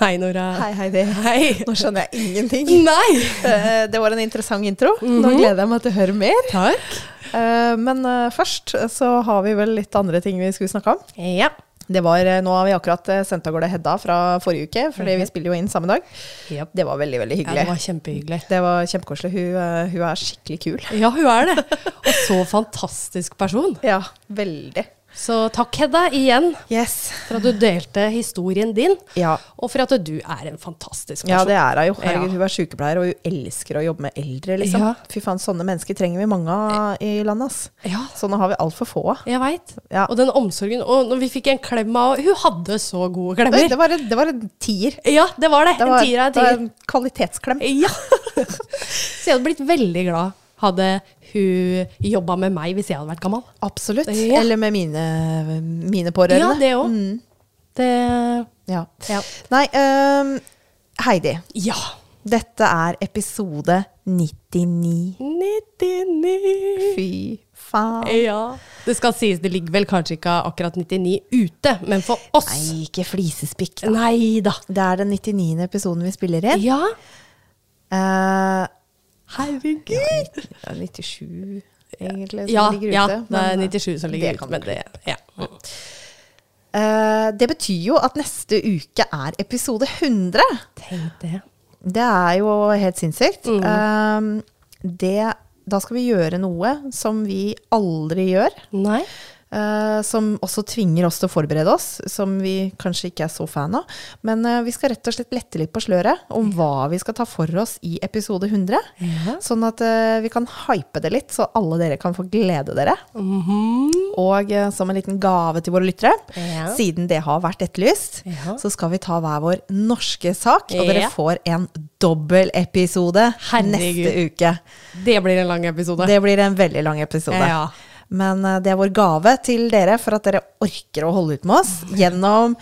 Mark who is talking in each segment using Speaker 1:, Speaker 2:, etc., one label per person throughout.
Speaker 1: Hei, Nora.
Speaker 2: Hei, Heidi.
Speaker 1: Hei.
Speaker 2: Nå skjønner jeg ingenting.
Speaker 1: Nei!
Speaker 2: Eh, Det var en interessant intro. Nå
Speaker 1: Mhm.
Speaker 2: gleder jeg meg til å høre mer.
Speaker 1: Takk.
Speaker 2: Eh, Men eh, først så har vi vel litt andre ting vi skulle snakke om.
Speaker 1: Ja.
Speaker 2: Det var, eh, Nå har vi akkurat eh, sendt av gårde Hedda fra forrige uke, fordi vi spiller jo inn samme dag.
Speaker 1: Japp.
Speaker 2: Det var veldig, veldig
Speaker 1: Mhm. ja,
Speaker 2: hyggelig.
Speaker 1: det var kjempehyggelig.
Speaker 2: det var kjempekoselig. Hun, eh, hun er skikkelig kul.
Speaker 1: Ja, hun er det. Og så fantastisk person.
Speaker 2: Ja, veldig.
Speaker 1: Så takk, Hedda, igjen
Speaker 2: Yes.
Speaker 1: for at du delte historien din.
Speaker 2: Ja.
Speaker 1: Og for at du er en fantastisk person.
Speaker 2: Ja, det er hun jo. Herregud,
Speaker 1: Ja.
Speaker 2: Hun er sykepleier, og hun elsker å jobbe med eldre. Liksom.
Speaker 1: Ja.
Speaker 2: Fy faen, sånne mennesker trenger vi mange av i landet. ass.
Speaker 1: Ja.
Speaker 2: Sånne har vi altfor få av.
Speaker 1: Jeg veit.
Speaker 2: Ja.
Speaker 1: Og den omsorgen. Og når vi fikk en klem av henne Hun hadde så gode
Speaker 2: Oi,
Speaker 1: klemmer.
Speaker 2: Det var, en- det var en tier.
Speaker 1: Ja, det var det.
Speaker 2: Det var,
Speaker 1: en tier av
Speaker 2: det var
Speaker 1: en tier.
Speaker 2: en kvalitetsklem.
Speaker 1: Ja. Så jeg hadde blitt veldig glad hadde hun jobba med meg hvis jeg hadde vært gammel.
Speaker 2: Absolutt.
Speaker 1: Ja.
Speaker 2: Eller med mine, mine pårørende.
Speaker 1: Ja, det òg.
Speaker 2: Mm,
Speaker 1: Det
Speaker 2: ja.
Speaker 1: Ja.
Speaker 2: Nei, øhm, Heidi.
Speaker 1: ja.
Speaker 2: Dette er episode 99.
Speaker 1: 99.
Speaker 2: Fy faen.
Speaker 1: Ja. Det skal sies, det ligger vel kanskje ikke akkurat 99 ute, men for oss
Speaker 2: Nei, ikke flisespikk. da.
Speaker 1: Nei da.
Speaker 2: Det er den 99. episoden vi spiller inn.
Speaker 1: Ja.
Speaker 2: Eh,
Speaker 1: Herregud.
Speaker 2: Ja, 97 egentlig som
Speaker 1: Ja,
Speaker 2: ligger ute.
Speaker 1: ja, det er
Speaker 2: men, eh,
Speaker 1: 97 som ligger
Speaker 2: det
Speaker 1: ute,
Speaker 2: kan
Speaker 1: men
Speaker 2: vi
Speaker 1: det ja. Mm.
Speaker 2: Eh, det betyr jo at neste uke er episode 100.
Speaker 1: Tenk det.
Speaker 2: Det er jo helt sinnssykt.
Speaker 1: Mm.
Speaker 2: Eh, det, da skal vi gjøre noe som vi aldri gjør.
Speaker 1: Nei.
Speaker 2: eh, som også tvinger oss til å forberede oss, som vi kanskje ikke er så fan av. Men eh, vi skal rett og slett lette litt på sløret om hva vi skal ta for oss i episode 100.
Speaker 1: Ja.
Speaker 2: Sånn at eh, vi kan hype det litt, så alle dere kan få glede dere.
Speaker 1: Mhm.
Speaker 2: Og eh, som en liten gave til våre lyttere,
Speaker 1: Ja.
Speaker 2: siden det har vært etterlyst,
Speaker 1: Ja.
Speaker 2: så skal vi ta hver vår norske sak. Og
Speaker 1: Ja.
Speaker 2: dere får en dobbeltepisode
Speaker 1: Herregud.
Speaker 2: neste uke.
Speaker 1: Det blir en lang episode.
Speaker 2: Det blir en veldig lang episode.
Speaker 1: Ja.
Speaker 2: Men eh, det er vår gave til dere for at dere orker å holde ut med oss gjennom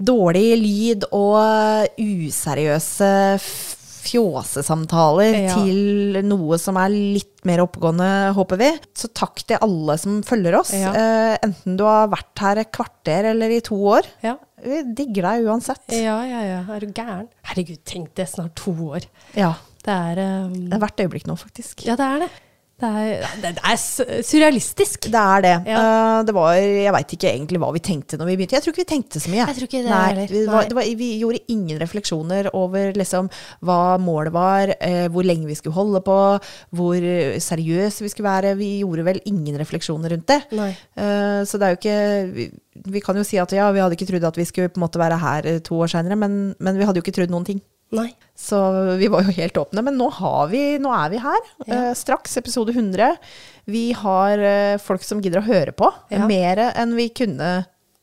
Speaker 2: dårlig lyd og eh, useriøse f- fjåsesamtaler
Speaker 1: Ja.
Speaker 2: til noe som er litt mer oppegående, håper vi. Så takk til alle som følger oss,
Speaker 1: Ja.
Speaker 2: eh, enten du har vært her et kvarter eller i to år.
Speaker 1: Ja.
Speaker 2: Vi digger deg uansett.
Speaker 1: ja, ja, ja. Er du gæren? Herregud, tenk det. Snart to år.
Speaker 2: Ja.
Speaker 1: Det er ehm,
Speaker 2: Det er hvert øyeblikk nå, faktisk.
Speaker 1: Ja, det er det. Det er, det, det er su- surrealistisk.
Speaker 2: Det er det.
Speaker 1: Ja.
Speaker 2: Eh, det var, jeg veit ikke egentlig hva vi tenkte når vi begynte. Jeg tror ikke vi tenkte så mye.
Speaker 1: Jeg tror ikke det
Speaker 2: Nei,
Speaker 1: heller.
Speaker 2: vi,
Speaker 1: Nei.
Speaker 2: var, det var, vi gjorde ingen refleksjoner over liksom, hva målet var, eh, hvor lenge vi skulle holde på, hvor eh, seriøse vi skulle være. Vi gjorde vel ingen refleksjoner rundt det.
Speaker 1: Nei.
Speaker 2: Eh, så det er jo ikke vi, vi kan jo si at ja, vi hadde ikke trodd at vi skulle på en måte være her eh, to år seinere, men, men vi hadde jo ikke trodd noen ting.
Speaker 1: Nei.
Speaker 2: Så vi var jo helt åpne, men nå, har vi, nå er vi her.
Speaker 1: Ja.
Speaker 2: Eh, straks episode 100. Vi har eh, folk som gidder å høre på.
Speaker 1: Ja.
Speaker 2: Mer enn vi kunne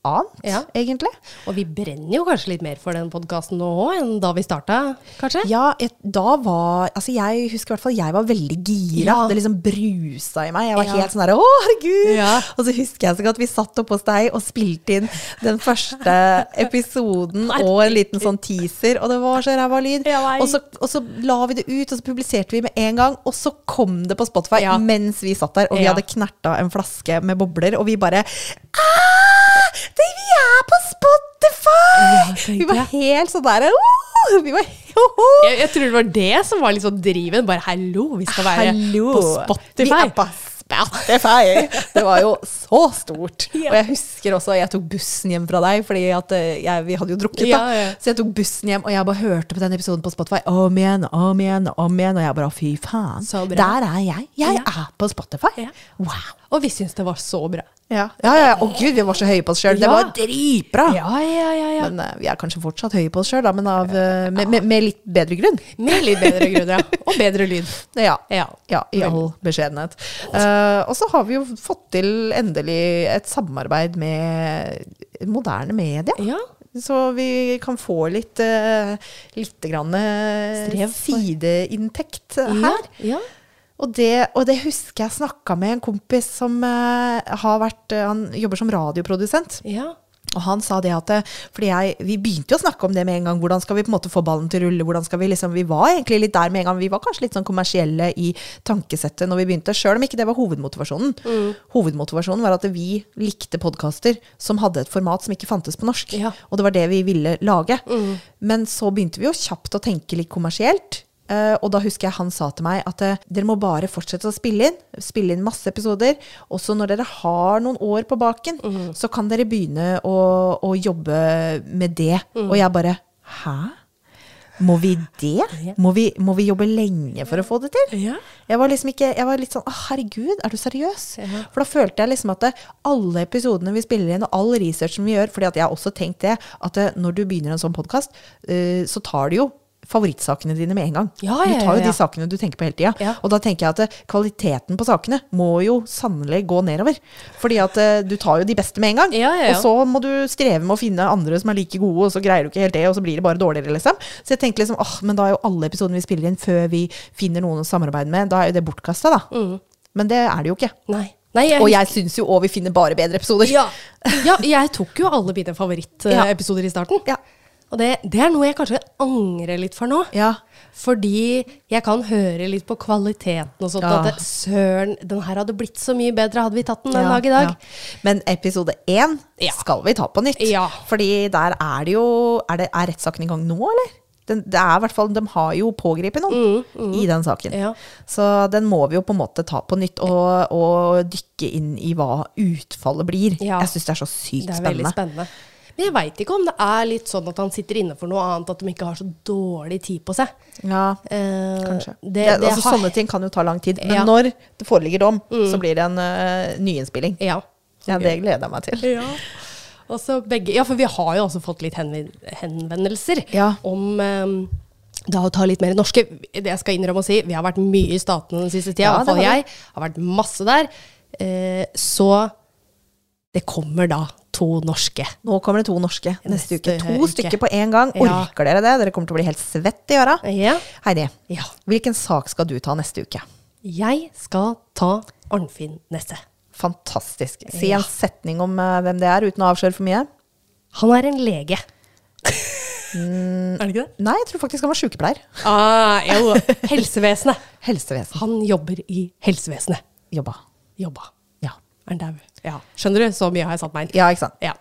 Speaker 2: ant,
Speaker 1: Ja.
Speaker 2: egentlig.
Speaker 1: Og vi brenner jo kanskje litt mer for den podkasten nå òg enn da vi starta, kanskje?
Speaker 2: Ja, et, da var Altså, jeg husker i hvert fall jeg var veldig gira.
Speaker 1: Ja.
Speaker 2: Det liksom brusa i meg. Jeg var
Speaker 1: Ja.
Speaker 2: helt sånn derre Å, herregud!
Speaker 1: Ja.
Speaker 2: Og så husker jeg så godt vi satt oppe hos deg og spilte inn den første episoden og en liten sånn teaser, og det var så ræva lyd.
Speaker 1: Jeg vet.
Speaker 2: Og så, og så la vi det ut, og så publiserte vi med en gang, og så kom det på Spotify
Speaker 1: Ja.
Speaker 2: mens vi satt der, og vi
Speaker 1: Ja.
Speaker 2: hadde knerta en flaske med bobler, og vi bare «Ah, det Vi er på
Speaker 1: Ja,
Speaker 2: Spotify!
Speaker 1: tenkte
Speaker 2: vi var
Speaker 1: jeg.
Speaker 2: helt sånn der «Åh!» Vi var «Åh!»
Speaker 1: Jeg, jeg tror det var det som var liksom driven. Bare hallo, vi skal være
Speaker 2: Hallo!
Speaker 1: på Spotify.
Speaker 2: Vi er på Spotify! Det var jo så stort.
Speaker 1: Ja.
Speaker 2: Og jeg husker også jeg tok bussen hjem fra deg, fordi at eh, jeg, vi hadde jo drukket. da.
Speaker 1: Ja, ja.
Speaker 2: Så jeg tok bussen hjem, og jeg bare hørte på den episoden på Spotify om igjen, om igjen, om igjen. Og jeg bare fy faen,
Speaker 1: Så bra.
Speaker 2: der er jeg. Jeg
Speaker 1: Ja.
Speaker 2: er på Spotify!
Speaker 1: Ja.
Speaker 2: Wow!
Speaker 1: Og vi syns det var så bra.
Speaker 2: Ja, ja, ja. Å gud, vi var så høye på oss sjøl. Det
Speaker 1: Ja.
Speaker 2: var dritbra!
Speaker 1: Ja, ja, ja, ja.
Speaker 2: Men eh, vi er kanskje fortsatt høye på oss sjøl, da, men av, eh, med, med, med litt bedre grunn.
Speaker 1: Med litt bedre grunn, ja. Og bedre lyd.
Speaker 2: Ja.
Speaker 1: Ja.
Speaker 2: Ja, i
Speaker 1: Vel.
Speaker 2: all beskjedenhet. Eh, og så har vi jo fått til endelig et samarbeid med moderne media.
Speaker 1: Ja.
Speaker 2: Så vi kan få litt, uh, litt grann, eh,
Speaker 1: Strev for-
Speaker 2: sideinntekt eh,
Speaker 1: Ja,
Speaker 2: her.
Speaker 1: ja.
Speaker 2: Og det, og det husker jeg snakka med en kompis som eh, har vært eh, Han jobber som radioprodusent.
Speaker 1: ja.
Speaker 2: Og han sa det at eh, fordi jeg, Vi begynte jo å snakke om det med en gang. Hvordan skal vi på en måte få ballen til å rulle? hvordan skal Vi liksom, vi var egentlig litt der med en gang. Vi var kanskje litt sånn kommersielle i tankesettet når vi begynte, sjøl om ikke det var hovedmotivasjonen. Hovedmotivasjonen var at vi likte podkaster som hadde et format som ikke fantes på norsk.
Speaker 1: Ja.
Speaker 2: Og det var det vi ville lage. Men så begynte vi jo kjapt å tenke litt kommersielt. Eh, og da husker jeg han sa til meg at eh, dere må bare fortsette å spille inn. Spille inn masse episoder. Også når dere har noen år på baken, så kan dere begynne å, å jobbe med det. Og jeg bare Hæ? Må vi det? Må vi, må vi jobbe lenge for å få det til?
Speaker 1: Ja.
Speaker 2: Jeg var liksom ikke Jeg var litt sånn Å, herregud, er du seriøs?
Speaker 1: Ja.
Speaker 2: For da følte jeg liksom at det, alle episodene vi spiller inn, og all researchen vi gjør Fordi at jeg har også tenkt det, at det, når du begynner en sånn podkast, så tar du jo favorittsakene dine med en gang.
Speaker 1: Ja, ja,
Speaker 2: du tar jo
Speaker 1: ja, ja.
Speaker 2: de sakene du tenker på hele tida.
Speaker 1: Ja.
Speaker 2: Og da tenker jeg at eh, kvaliteten på sakene må jo sannelig gå nedover. Fordi at eh, du tar jo de beste med en gang.
Speaker 1: Ja, ja, ja.
Speaker 2: Og så må du streve med å finne andre som er like gode, og så greier du ikke helt det, og så blir det bare dårligere, liksom. Så jeg tenkte liksom, åh, men da er jo alle episodene vi spiller inn før vi finner noen å samarbeide med, da er jo det bortkasta, da. Men det er det jo ikke.
Speaker 1: Nei. Nei Mm. jeg,
Speaker 2: Og jeg syns jo òg vi finner bare bedre episoder.
Speaker 1: ja. ja, jeg tok jo alle mine favorittepisoder i starten.
Speaker 2: Ja.
Speaker 1: Og det, det er noe jeg kanskje angrer litt for nå.
Speaker 2: Ja.
Speaker 1: Fordi jeg kan høre litt på kvaliteten og sånt.
Speaker 2: Ja.
Speaker 1: At det, søren, den her hadde blitt så mye bedre hadde vi tatt den en
Speaker 2: Ja,
Speaker 1: dag i dag.
Speaker 2: ja. Men episode én
Speaker 1: Ja.
Speaker 2: skal vi ta på nytt.
Speaker 1: Ja.
Speaker 2: Fordi der er det jo Er, det, er rettssaken i gang nå, eller? Den, det er i hvert fall, De har jo pågrepet noen i den saken.
Speaker 1: Mm, Ja.
Speaker 2: Så den må vi jo på en måte ta på nytt, og, og dykke inn i hva utfallet blir.
Speaker 1: Ja.
Speaker 2: Jeg syns det er så sykt
Speaker 1: Det er veldig
Speaker 2: spennende.
Speaker 1: spennende. Men jeg veit ikke om det er litt sånn at han sitter inne for noe annet, at de ikke har så dårlig tid på seg.
Speaker 2: Ja,
Speaker 1: Eh,
Speaker 2: kanskje.
Speaker 1: Det,
Speaker 2: Det,
Speaker 1: det
Speaker 2: altså,
Speaker 1: har,
Speaker 2: Sånne ting kan jo ta lang tid. Men
Speaker 1: Ja. Mm.
Speaker 2: når det foreligger dom, så blir det en eh, nyinnspilling.
Speaker 1: Ja.
Speaker 2: Ja, det
Speaker 1: Mm.
Speaker 2: gleder jeg meg til.
Speaker 1: Ja. Og så begge, ja, for vi har jo også fått litt henvi- henvendelser
Speaker 2: Ja.
Speaker 1: om eh, da å ta litt mer norske. Det jeg skal innrømme å si, vi har vært mye i statene den siste tida.
Speaker 2: Ja,
Speaker 1: I hvert fall
Speaker 2: det har vi.
Speaker 1: jeg. Har vært masse der. Eh, så det kommer da to norske.
Speaker 2: Nå kommer det to norske
Speaker 1: Neste
Speaker 2: neste, uke. To
Speaker 1: uke.
Speaker 2: stykker på én gang.
Speaker 1: Ja.
Speaker 2: Orker dere det? Dere kommer til å bli helt svett i øra.
Speaker 1: Ja.
Speaker 2: Heidi,
Speaker 1: Ja.
Speaker 2: hvilken sak skal du ta neste uke?
Speaker 1: Jeg skal ta Arnfinn Nesse.
Speaker 2: Fantastisk. Si en setning om eh, hvem det er, uten å avsløre for mye.
Speaker 1: Han er en lege.
Speaker 2: Mm.
Speaker 1: er det ikke det?
Speaker 2: Nei, jeg tror faktisk han var sykepleier.
Speaker 1: Ah, jo. Helsevesenet.
Speaker 2: Helsevesen.
Speaker 1: Han jobber i helsevesenet.
Speaker 2: Jobba.
Speaker 1: Jobba.
Speaker 2: Ja.
Speaker 1: Er han dau? Ja. Skjønner du? Så mye har jeg satt meg inn.
Speaker 2: ja, ikke sant.
Speaker 1: Ja.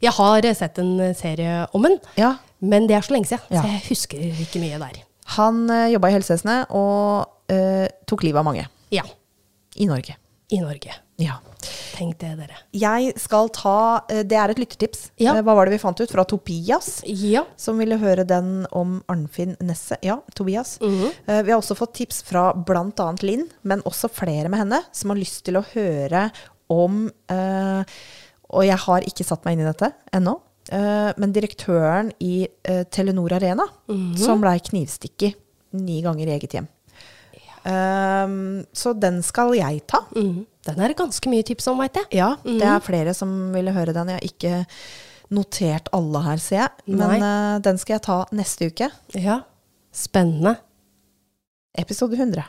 Speaker 1: Jeg har eh, sett en eh, serie om den,
Speaker 2: Ja.
Speaker 1: men det er så lenge siden,
Speaker 2: Ja.
Speaker 1: så jeg husker ikke mye der.
Speaker 2: Han uh, jobba i helsevesenet og eh, tok livet av mange
Speaker 1: Ja.
Speaker 2: i Norge.
Speaker 1: I Norge.
Speaker 2: Ja.
Speaker 1: Tenk det, dere.
Speaker 2: Jeg skal ta eh, Det er et lyttertips.
Speaker 1: Ja.
Speaker 2: Eh, Hva var det vi fant ut? Fra Topias.
Speaker 1: Ja.
Speaker 2: som ville høre den om Arnfinn Nesse. Ja, Tobias. Eh, vi har også fått tips fra bl.a. Linn, men også flere med henne, som har lyst til å høre om eh, Og jeg har ikke satt meg inn i dette ennå. eh, men direktøren i eh, Telenor Arena, som blei knivstikket ni ganger i eget hjem. Eh, så den skal jeg ta.
Speaker 1: Mm. Den er det ganske mye tips om, veit jeg.
Speaker 2: Ja, det er flere som ville høre den. Jeg har ikke notert alle her, ser jeg. Men eh, den skal jeg ta neste uke.
Speaker 1: Ja. Spennende.
Speaker 2: Episode 100.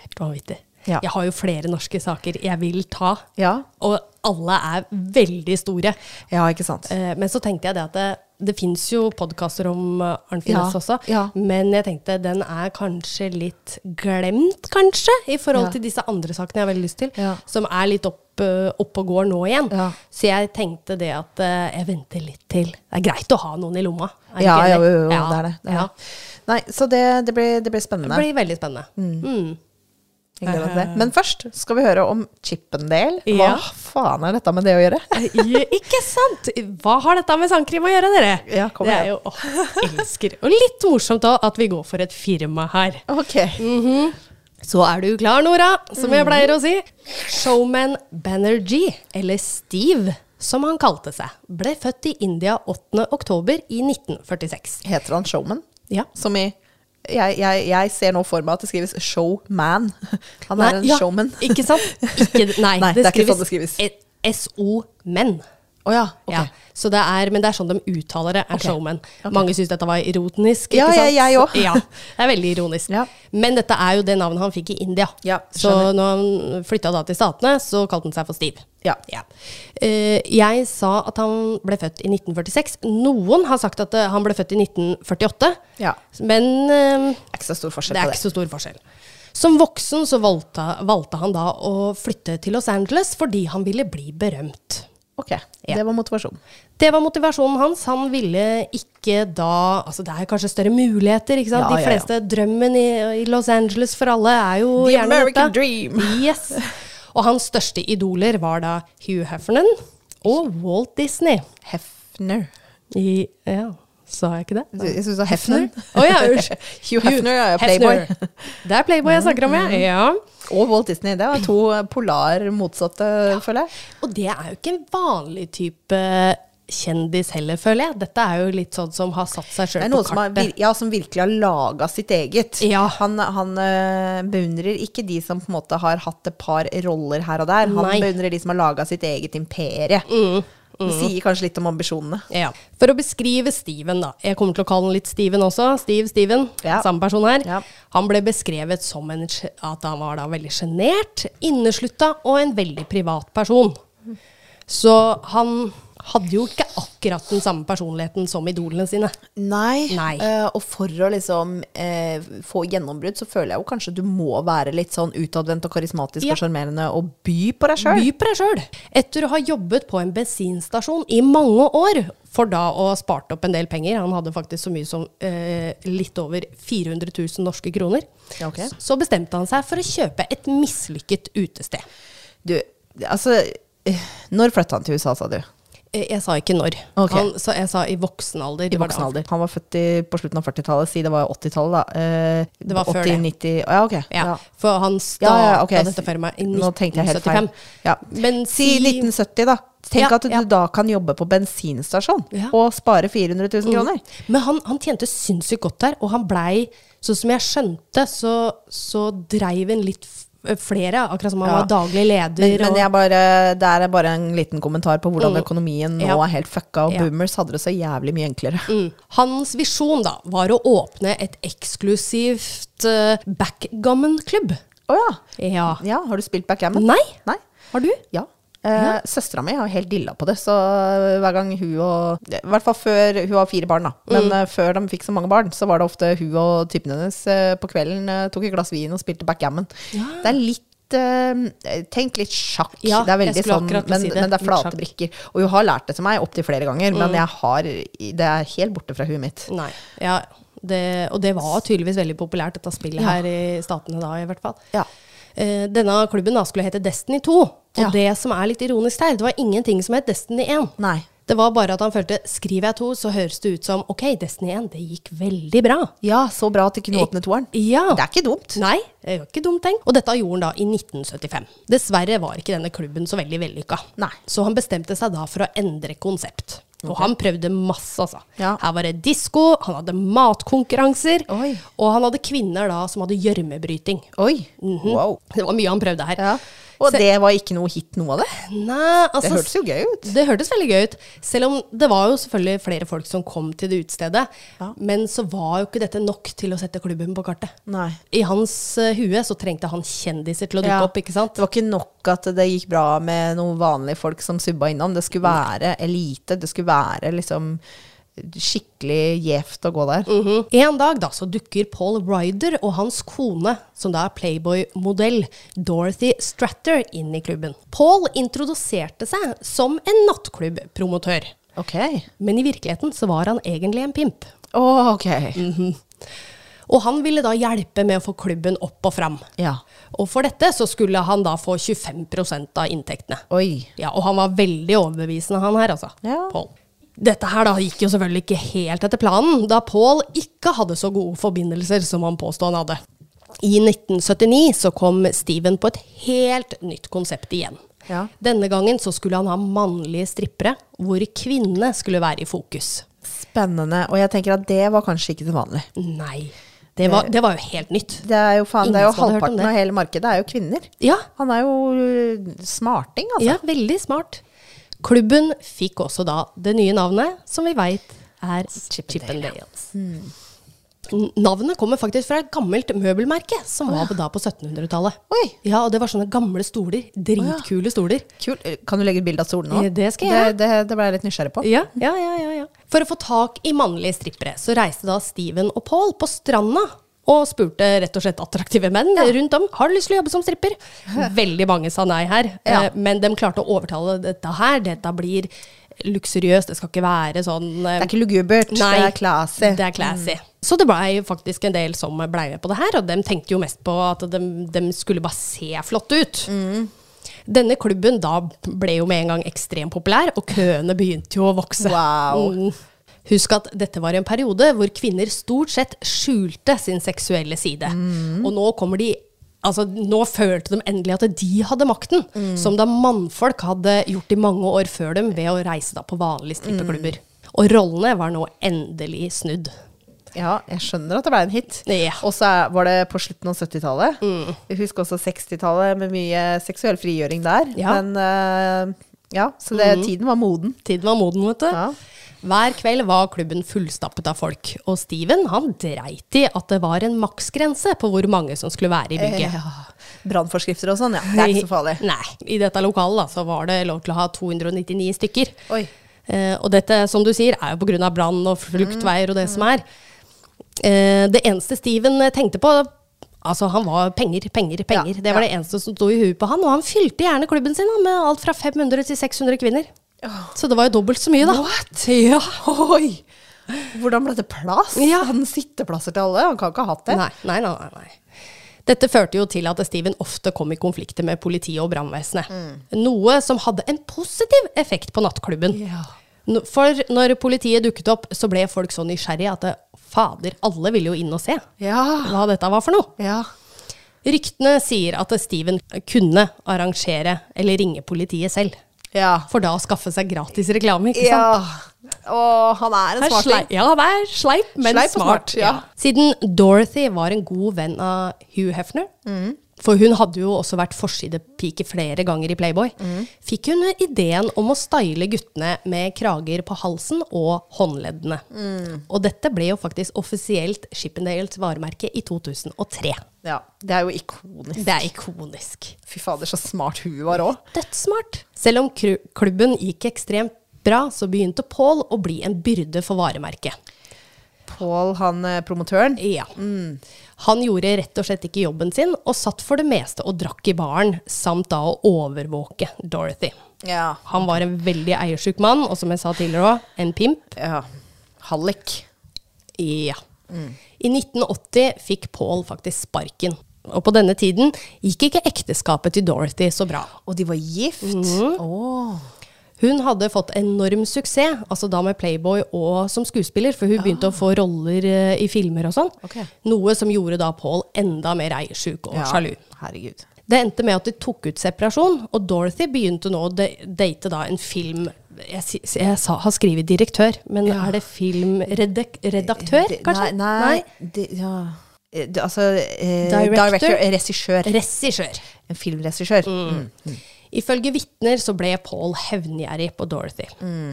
Speaker 1: Helt vanvittig.
Speaker 2: Ja.
Speaker 1: Jeg har jo flere norske saker jeg vil ta,
Speaker 2: Ja,
Speaker 1: og alle er veldig store.
Speaker 2: ja ikke sant?
Speaker 1: Eh, Men så tenkte jeg det at det, det fins jo podkaster om eh, Arnfinn
Speaker 2: Ja,
Speaker 1: Næss også,
Speaker 2: ja.
Speaker 1: men jeg tenkte den er kanskje litt glemt, kanskje, i forhold
Speaker 2: Ja.
Speaker 1: til disse andre sakene jeg har veldig lyst til,
Speaker 2: Ja.
Speaker 1: som er litt opp, eh, opp og går nå igjen.
Speaker 2: Ja.
Speaker 1: Så jeg tenkte det at eh, jeg venter litt til. Det er greit å ha noen i lomma. er det
Speaker 2: Ja,
Speaker 1: ikke
Speaker 2: jo,
Speaker 1: det?
Speaker 2: jo, jo,
Speaker 1: Ja,
Speaker 2: det er det. det, er
Speaker 1: ja.
Speaker 2: det. Nei, så det, det, blir, det blir
Speaker 1: Det
Speaker 2: spennende.
Speaker 1: blir veldig spennende. Mm.
Speaker 2: Jeg gleder meg til det. Men først skal vi høre om Chippendale. Hva
Speaker 1: Ja.
Speaker 2: faen er dette med det å gjøre?
Speaker 1: Ja, Eh, ikke sant? Hva har dette med sangkrim å gjøre, dere?
Speaker 2: Ja, kom
Speaker 1: det er
Speaker 2: igjen.
Speaker 1: jo, åh, elsker. Og litt morsomt òg at vi går for et firma her.
Speaker 2: Ok.
Speaker 1: Så er du klar, Nora, som
Speaker 2: Mm.
Speaker 1: jeg pleier å si. Showman Banerjee, eller Steve, som han kalte seg, ble født i India 8. oktober i 1946.
Speaker 2: Heter han Showman?
Speaker 1: Ja.
Speaker 2: Som i jeg, jeg, jeg ser nå for meg at det skrives Showman. Han er
Speaker 1: Nei,
Speaker 2: en
Speaker 1: ja,
Speaker 2: showman. Å
Speaker 1: Ikke sant? Ikke, nei,
Speaker 2: Nei, det er ikke sånn det skrives.
Speaker 1: et- SO-menn.
Speaker 2: ja, ok.
Speaker 1: Ja, så det er, men det er sånn de uttaler det, er
Speaker 2: Ok.
Speaker 1: showman. Mange syns dette var ironisk.
Speaker 2: Ja,
Speaker 1: ikke sant?
Speaker 2: ja, jeg
Speaker 1: Så-
Speaker 2: også.
Speaker 1: Ja, det er veldig ironisk.
Speaker 2: Ja.
Speaker 1: Men dette er jo det navnet han fikk i India.
Speaker 2: Ja,
Speaker 1: så når han flytta da til Statene, så kalte han seg for Steve.
Speaker 2: Ja.
Speaker 1: Eh, jeg sa at han ble født i 1946. Noen har sagt at eh, han ble født i 1948,
Speaker 2: Ja.
Speaker 1: men eh,
Speaker 2: Det er ikke så stor
Speaker 1: det
Speaker 2: forskjell
Speaker 1: er
Speaker 2: på
Speaker 1: ikke
Speaker 2: det.
Speaker 1: så stor forskjell. Som voksen så valgte, valgte han da å flytte til Los Angeles fordi han ville bli berømt.
Speaker 2: Ok, Det var motivasjon.
Speaker 1: Det var motivasjonen hans. Han ville ikke da Altså, det er kanskje større muligheter, ikke sant?
Speaker 2: Ja,
Speaker 1: De
Speaker 2: ja, ja.
Speaker 1: fleste Drømmen i, i Los Angeles for alle er jo
Speaker 2: The
Speaker 1: gjerne
Speaker 2: American
Speaker 1: dette.
Speaker 2: dream.
Speaker 1: Yes. Og hans største idoler var da Hugh Heffernan og Walt Disney.
Speaker 2: Hefner.
Speaker 1: I Ja, sa jeg ikke det?
Speaker 2: Jeg syns du sa Hefner.
Speaker 1: Å ja, unnskyld.
Speaker 2: Hugh Hefner er playboy. Mm.
Speaker 1: Hefner. Det er Playboy jeg snakker om, jeg. Ja.
Speaker 2: Og Walt Disney. Det var to polar motsatte, føler jeg.
Speaker 1: Og det er jo ikke en vanlig type kjendis heller, føler jeg. Dette er jo litt sånn som har satt seg
Speaker 2: Det er
Speaker 1: sjøl på
Speaker 2: noen som, har,
Speaker 1: kartet.
Speaker 2: vir- ja, som virkelig har laga sitt eget.
Speaker 1: Ja.
Speaker 2: Han, han eh, beundrer ikke de som på en måte har hatt et par roller her og der. Han
Speaker 1: Nei.
Speaker 2: beundrer de som har laga sitt eget imperie. Det sier kanskje litt om ambisjonene.
Speaker 1: Ja. For å beskrive Steven, da. Jeg kommer til å kalle han litt Steven også. Steve Steven,
Speaker 2: Ja.
Speaker 1: samme person her.
Speaker 2: Ja.
Speaker 1: Han ble beskrevet som en, sj- at han var da veldig sjenert, inneslutta og en veldig privat person. Så han hadde jo ikke akkurat den samme personligheten som idolene sine.
Speaker 2: Nei.
Speaker 1: Nei.
Speaker 2: eh, og for å liksom eh, få gjennombrudd, så føler jeg jo kanskje du må være litt sånn utadvendt og karismatisk
Speaker 1: Ja.
Speaker 2: og sjarmerende og by på deg sjøl.
Speaker 1: By på deg sjøl. Etter å ha jobbet på en bensinstasjon i mange år, for da å ha spart opp en del penger, han hadde faktisk så mye som eh, litt over 400 000 norske kroner,
Speaker 2: Ja, ok.
Speaker 1: s- så bestemte han seg for å kjøpe et mislykket utested.
Speaker 2: Du, altså eh, Når flytta han til USA, sa du?
Speaker 1: Eh, Jeg sa ikke når.
Speaker 2: Ok.
Speaker 1: Han, så jeg sa i voksen alder.
Speaker 2: I
Speaker 1: Det var da
Speaker 2: voksen
Speaker 1: han-
Speaker 2: alder. Han var født i, på slutten av 40-tallet, si det var 80-tallet, da. Eh,
Speaker 1: Det var før
Speaker 2: 80,
Speaker 1: det.
Speaker 2: 90, ja, ok.
Speaker 1: Ja,
Speaker 2: Ja.
Speaker 1: For han
Speaker 2: Ja,
Speaker 1: starta
Speaker 2: ja, ok.
Speaker 1: dette firmaet i
Speaker 2: Nå tenkte jeg helt feil.
Speaker 1: 1975.
Speaker 2: Ja.
Speaker 1: Men
Speaker 2: si,
Speaker 1: si-
Speaker 2: 1970, da. Tenk
Speaker 1: Ja,
Speaker 2: at du
Speaker 1: ja.
Speaker 2: da kan jobbe på bensinstasjon
Speaker 1: Ja. Mm.
Speaker 2: og spare 400 000 kroner.
Speaker 1: Men han, han tjente sinnssykt godt der, og han blei, sånn som jeg skjønte, så, så dreiv han litt f- eh, flere, akkurat som han
Speaker 2: Ja.
Speaker 1: var daglig leder.
Speaker 2: Men, men
Speaker 1: og-
Speaker 2: jeg bare, det er bare en liten kommentar på hvordan
Speaker 1: Mm.
Speaker 2: økonomien nå
Speaker 1: Ja.
Speaker 2: er helt fucka, og
Speaker 1: Ja.
Speaker 2: boomers hadde det så jævlig mye enklere.
Speaker 1: Mm. Hans visjon da, var å åpne et eksklusivt eh, backgammon-klubb.
Speaker 2: Å
Speaker 1: Ja.
Speaker 2: ja. ja. Har du spilt backgammon?
Speaker 1: Nei,
Speaker 2: Nei.
Speaker 1: har du?
Speaker 2: Ja. Eh, Søstera mi har helt dilla på det, så hver gang hun og I hvert fall før hun har fire barn, da. Men
Speaker 1: Mm.
Speaker 2: eh, før de fikk så mange barn, så var det ofte hun og typen hennes eh, på kvelden eh, tok et glass vin og spilte backgammon.
Speaker 1: Ja.
Speaker 2: Det er litt eh, Tenk litt sjakk.
Speaker 1: Ja,
Speaker 2: det er
Speaker 1: jeg
Speaker 2: veldig
Speaker 1: skulle
Speaker 2: sånn,
Speaker 1: akkurat
Speaker 2: men,
Speaker 1: si det.
Speaker 2: men det er
Speaker 1: Litt
Speaker 2: flate
Speaker 1: sjakk. Mm.
Speaker 2: brikker. Og hun har lært det til meg opptil flere ganger, men jeg har, det er helt borte fra huet mitt.
Speaker 1: Nei. Ja, det, og det var tydeligvis veldig populært, dette spillet her i statene da, i hvert fall.
Speaker 2: Ja.
Speaker 1: Eh, denne klubben da skulle hete Destiny 2, og
Speaker 2: Ja.
Speaker 1: det som er litt ironisk her, det var ingenting som het Destiny 1.
Speaker 2: Nei.
Speaker 1: Det var bare at han følte skriver jeg to, så høres det ut som ok, Destiny 1, det gikk veldig bra.
Speaker 2: Ja, så bra at de kunne åpne toeren.
Speaker 1: Ja.
Speaker 2: Det er ikke dumt.
Speaker 1: Nei, det var ikke dumt tenkt. Og dette gjorde han da i 1975. Dessverre var ikke denne klubben så veldig vellykka.
Speaker 2: Nei.
Speaker 1: Så han bestemte seg da for å endre konsept. Og han prøvde masse, altså.
Speaker 2: Ja.
Speaker 1: Her var det disko, han hadde matkonkurranser,
Speaker 2: Oi.
Speaker 1: og han hadde kvinner da som hadde gjørmebryting.
Speaker 2: Oi.
Speaker 1: Mhm.
Speaker 2: Wow.
Speaker 1: Det var mye han prøvde her.
Speaker 2: Ja. Og det var ikke noe hit, noe av det?
Speaker 1: Nei, altså,
Speaker 2: Det hørtes jo gøy ut.
Speaker 1: Det hørtes veldig gøy ut. Selv om det var jo selvfølgelig flere folk som kom til det utestedet. Men så var jo ikke dette nok til å sette klubben på kartet.
Speaker 2: Nei.
Speaker 1: I hans eh, hue så trengte han kjendiser til å dukke
Speaker 2: Ja.
Speaker 1: opp, ikke sant?
Speaker 2: Det var ikke nok at det gikk bra med noen vanlige folk som subba innom. Det skulle være elite. Det skulle være liksom skikkelig gjevt å gå der.
Speaker 1: Mhm. En dag da så dukker Paul Ryder og hans kone, som da er Playboy-modell, Dorothy Stratter, inn i klubben. Paul introduserte seg som en nattklubbpromotør.
Speaker 2: Ok.
Speaker 1: Men i virkeligheten så var han egentlig en pimp.
Speaker 2: Å, ok.
Speaker 1: Og han ville da hjelpe med å få klubben opp og fram.
Speaker 2: Ja.
Speaker 1: Og for dette så skulle han da få 25 av inntektene.
Speaker 2: Oi.
Speaker 1: Ja, og han var veldig overbevisende, han her, altså.
Speaker 2: Ja.
Speaker 1: Paul. Dette her da gikk jo selvfølgelig ikke helt etter planen, da Paul ikke hadde så gode forbindelser som han påstod han hadde. I 1979 så kom Steven på et helt nytt konsept igjen.
Speaker 2: Ja.
Speaker 1: Denne gangen så skulle han ha mannlige strippere, hvor kvinnene skulle være i fokus.
Speaker 2: Spennende. Og jeg tenker at det var kanskje ikke så vanlig.
Speaker 1: Nei, det var, det var jo helt nytt.
Speaker 2: Det er jo, faen, det er jo
Speaker 1: Ingen som hadde hørt om
Speaker 2: halvparten
Speaker 1: det.
Speaker 2: av hele markedet er jo kvinner.
Speaker 1: Ja,
Speaker 2: Han er jo øh, smarting, altså.
Speaker 1: ja veldig smart. Klubben fikk også da det nye navnet, som vi veit er Chippendales. N- Navnet kommer faktisk fra et gammelt møbelmerke som var da på 1700-tallet.
Speaker 2: Oi,
Speaker 1: Ja, og det var sånne gamle stoler. Dritkule stoler.
Speaker 2: kult. Kan du legge ut bilde av stolen nå?
Speaker 1: Eh, det skal jeg.
Speaker 2: Det, det, det ble jeg litt nysgjerrig på.
Speaker 1: Ja, ja, ja, ja, ja. For å få tak i mannlige strippere, så reiste da Steven og Paul på stranda. Og spurte rett og slett attraktive menn rundt om har du lyst til å jobbe som stripper. Veldig mange sa nei her,
Speaker 2: Ja.
Speaker 1: eh, men de klarte å overtale dette her. Dette blir luksuriøst, det skal ikke være sånn eh,
Speaker 2: Det er ikke lugubert, det er classy. Mm.
Speaker 1: det er classy. Så det blei faktisk en del som blei med på det her, og de tenkte jo mest på at de, de skulle bare se flotte ut.
Speaker 2: Mm.
Speaker 1: Denne klubben da ble jo med en gang ekstremt populær, og køene begynte jo å vokse.
Speaker 2: Wow.
Speaker 1: Mm. Husk at dette var en periode hvor kvinner stort sett skjulte sin seksuelle side. Og nå kommer de Altså, nå følte de endelig at de hadde makten, som da mannfolk hadde gjort i mange år før dem ved å reise da på vanlige strippeklubber. Og rollene var nå endelig snudd.
Speaker 2: Ja, jeg skjønner at det ble en hit.
Speaker 1: Ja.
Speaker 2: Og så er- var det på slutten av 70-tallet.
Speaker 1: Mm.
Speaker 2: Jeg husker også 60-tallet med mye seksuell frigjøring der.
Speaker 1: Ja. Mm.
Speaker 2: Men eh, ja, så det, tiden var moden.
Speaker 1: Tiden var moden, vet du.
Speaker 2: Ja.
Speaker 1: Hver kveld var klubben fullstappet av folk, og Steven han dreit i at det var en maksgrense på hvor mange som skulle være i bygget.
Speaker 2: Eh, Ja. Brannforskrifter og sånn, ja. Det er ikke så farlig.
Speaker 1: Nei. I dette lokalet da, så var det lov til å ha 299 stykker.
Speaker 2: Oi.
Speaker 1: Eh, og dette, som du sier, er jo pga. brann og fluktveier og det som er. Eh, det eneste Steven eh, tenkte på Altså, han var penger, penger, penger.
Speaker 2: Ja,
Speaker 1: det var
Speaker 2: ja.
Speaker 1: det eneste som sto i huet på han. Og han fylte gjerne klubben sin da, med alt fra 500 til 600 kvinner. Så det var jo dobbelt så mye, da. What? Ja, oi!
Speaker 2: Hvordan ble det plass?
Speaker 1: Ja.
Speaker 2: Hadde han sitteplasser til alle? Han kan ikke ha hatt det.
Speaker 1: Nei, nei, nei, nei, nei. Dette førte jo til at Steven ofte kom i konflikter med politiet og brannvesenet. Noe som hadde en positiv effekt på nattklubben.
Speaker 2: Mm. Ja.
Speaker 1: No- For når politiet dukket opp, så ble folk så nysgjerrige at det- fader, alle ville jo inn og se
Speaker 2: Ja.
Speaker 1: hva dette var for noe.
Speaker 2: ja.
Speaker 1: Ryktene sier at Steven kunne arrangere eller ringe politiet selv.
Speaker 2: Ja.
Speaker 1: For da å skaffe seg gratis reklame, ikke sant?
Speaker 2: ja. Og han er en
Speaker 1: Han er
Speaker 2: smarting.
Speaker 1: sleip. Ja, han er sleip, men
Speaker 2: Sleip og
Speaker 1: smart.
Speaker 2: smart, ja.
Speaker 1: Siden Dorothy var en god venn av Hugh Hefner, for hun hadde jo også vært forsidepike flere ganger i Playboy, fikk hun ideen om å style guttene med krager på halsen og håndleddene. Og dette ble jo faktisk offisielt Shippendales varemerke i 2003.
Speaker 2: Ja, det er jo ikonisk.
Speaker 1: Det er ikonisk.
Speaker 2: Fy fader, så smart hun var òg.
Speaker 1: Dødssmart. Selv om kru- klubben gikk ekstremt bra, så begynte Paul å bli en byrde for varemerket.
Speaker 2: Pål, han eh, promotøren.
Speaker 1: Ja.
Speaker 2: Mm.
Speaker 1: Han gjorde rett og slett ikke jobben sin, og satt for det meste og drakk i baren, samt da å overvåke Dorothy.
Speaker 2: Ja.
Speaker 1: Han var en veldig eiersjuk mann, og som jeg sa tidligere òg, en pimp.
Speaker 2: ja. Hallik.
Speaker 1: Ja.
Speaker 2: Mm.
Speaker 1: I 1980 fikk Paul faktisk sparken. Og på denne tiden gikk ikke ekteskapet til Dorothy så bra.
Speaker 2: Og de var gift. Åh.
Speaker 1: Hun hadde fått enorm suksess, altså da med Playboy og som skuespiller, for hun begynte å få roller eh, i filmer og sånn.
Speaker 2: Ok.
Speaker 1: Noe som gjorde da Paul enda mer eiersjuk og
Speaker 2: Ja,
Speaker 1: sjalu.
Speaker 2: Herregud.
Speaker 1: Det endte med at de tok ut separasjon, og Dorothy begynte nå å de- date da en film... Jeg, si- jeg sa, har skrevet direktør, men er det filmredaktør,
Speaker 2: Det-
Speaker 1: kanskje?
Speaker 2: Nei, nei, Det, ja. Eh, det- altså eh,
Speaker 1: Director?
Speaker 2: Director? eh, regissør.
Speaker 1: Regissør.
Speaker 2: En filmregissør. Mm.
Speaker 1: Ifølge vitner så ble Paul hevngjerrig på Dorothy.
Speaker 2: Mm.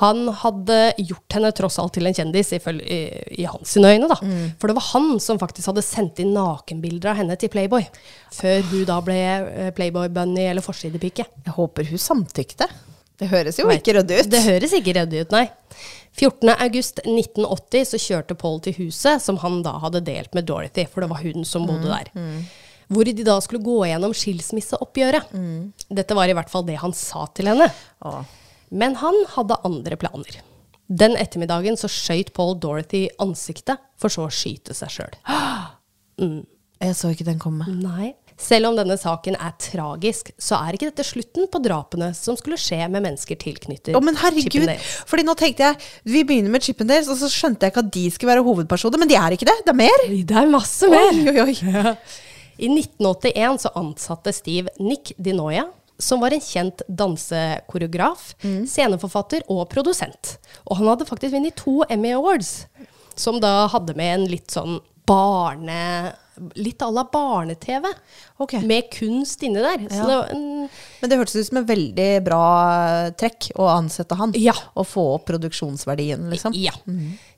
Speaker 1: Han hadde gjort henne tross alt til en kjendis, ifølge, i, i hans sine øyne. da.
Speaker 2: Mm.
Speaker 1: For det var han som faktisk hadde sendt inn nakenbilder av henne til Playboy. Før hun da ble eh, Playboy-bunny eller forsidepike.
Speaker 2: Jeg håper hun samtykte. Det høres jo
Speaker 1: Vet-
Speaker 2: ikke rødt ut.
Speaker 1: Det høres ikke ryddig ut, nei. 14.8.1980 så kjørte Paul til huset som han da hadde delt med Dorothy, for det var hun som bodde
Speaker 2: Mm,
Speaker 1: der. Hvor de da skulle gå gjennom skilsmisseoppgjøret.
Speaker 2: Mm.
Speaker 1: Dette var i hvert fall det han sa til henne.
Speaker 2: Åh.
Speaker 1: Men han hadde andre planer. Den ettermiddagen så skøyt Paul Dorothy i ansiktet, for så å skyte seg sjøl.
Speaker 2: Jeg så ikke den komme.
Speaker 1: Nei. Selv om denne saken er tragisk, så er ikke dette slutten på drapene som skulle skje med mennesker tilknyttet
Speaker 2: Å, men herregud.
Speaker 1: Chippendales.
Speaker 2: Fordi nå tenkte jeg, vi begynner med Chippendales, og så skjønte jeg ikke at de skulle være hovedpersoner, men de er ikke det. Det er mer.
Speaker 1: Det er masse mer!
Speaker 2: Oi, oi, oi.
Speaker 1: I 1981 så ansatte Steve Nick Dinoya, som var en kjent dansekoreograf,
Speaker 2: Mm.
Speaker 1: sceneforfatter og produsent. Og han hadde faktisk vunnet to Emmy Awards, som da hadde med en litt sånn barne... Litt à la barne-TV,
Speaker 2: Ok.
Speaker 1: med kunst inni der. Så
Speaker 2: Ja.
Speaker 1: det var en
Speaker 2: Men det hørtes ut som en veldig bra eh, trekk å ansette han.
Speaker 1: Ja.
Speaker 2: Og få opp produksjonsverdien, liksom.
Speaker 1: Ja.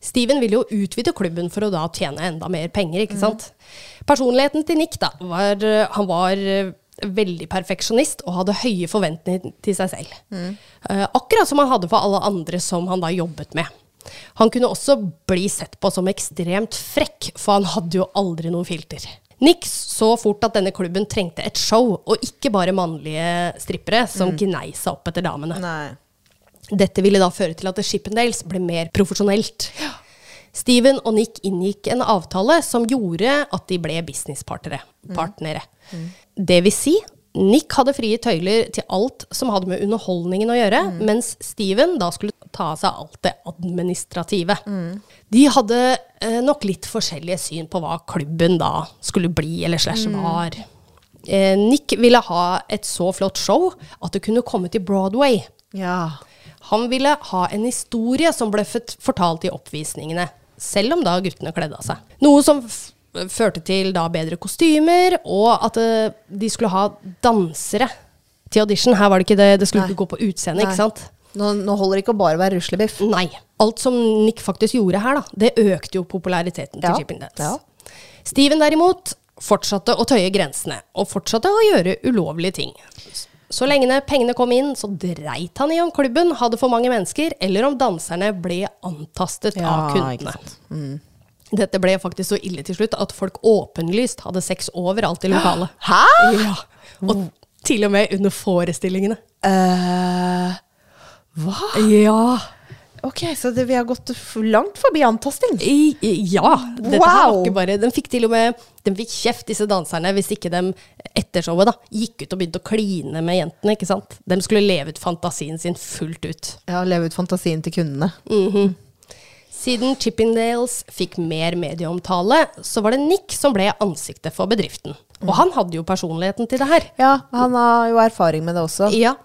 Speaker 1: Steven ville jo utvide klubben for å da tjene enda mer penger, ikke sant. Personligheten til Nick, da, var eh, Han var eh, veldig perfeksjonist og hadde høye forventninger til seg selv. Eh, akkurat som han hadde for alle andre som han da jobbet med. Han kunne også bli sett på som ekstremt frekk, for han hadde jo aldri noe filter. Nick så fort at denne klubben trengte et show, og ikke bare mannlige strippere som gnei seg opp etter damene.
Speaker 2: Nei.
Speaker 1: Dette ville da føre til at Shippendales ble mer profesjonelt. Steven og Nick inngikk en avtale som gjorde at de ble businesspartnere. partnere. Det vil si, Nick hadde frie tøyler til alt som hadde med underholdningen å gjøre, mens Steven da skulle ta av seg alt det administrative. De hadde eh, nok litt forskjellige syn på hva klubben da skulle bli, eller slash var. Eh, Nick ville ha et så flott show at det kunne komme til Broadway.
Speaker 2: Ja.
Speaker 1: Han ville ha en historie som ble fort- fortalt i oppvisningene, selv om da guttene kledde av seg. Noe som f førte til da bedre kostymer, og at eh, de skulle ha dansere til audition. Her var det ikke det, det skulle
Speaker 2: Nei.
Speaker 1: ikke gå på utseende,
Speaker 2: Nei.
Speaker 1: ikke sant?
Speaker 2: Nå, nå holder det ikke å bare være ruslebiff.
Speaker 1: Nei. Alt som Nick faktisk gjorde her, da, det økte jo populariteten til
Speaker 2: Ja,
Speaker 1: Chippendales.
Speaker 2: ja.
Speaker 1: Steven derimot fortsatte å tøye grensene, og fortsatte å gjøre ulovlige ting. Så lenge pengene kom inn, så dreit han i om klubben hadde for mange mennesker, eller om danserne ble antastet
Speaker 2: Ja,
Speaker 1: av
Speaker 2: ikke Mm.
Speaker 1: kundene. Dette ble faktisk så ille til slutt at folk åpenlyst hadde sex overalt i lokalet.
Speaker 2: Hæ?
Speaker 1: Ja, og til og med under forestillingene.
Speaker 2: Eh, hva?
Speaker 1: Ja.
Speaker 2: Ok, så det, vi har gått f- langt forbi antasting.
Speaker 1: I, i- ja. Dette her var
Speaker 2: Wow!
Speaker 1: ikke bare Den fikk til og med Den fikk kjeft, disse danserne, hvis ikke de etter showet da, gikk ut og begynte å kline med jentene. ikke sant? De skulle leve ut fantasien sin fullt ut.
Speaker 2: Ja, leve ut fantasien til kundene.
Speaker 1: Siden Chippendales fikk mer medieomtale, så var det Nick som ble ansiktet for bedriften. Og han hadde jo personligheten til det her.
Speaker 2: Ja, han har jo erfaring med det også.
Speaker 1: Ja.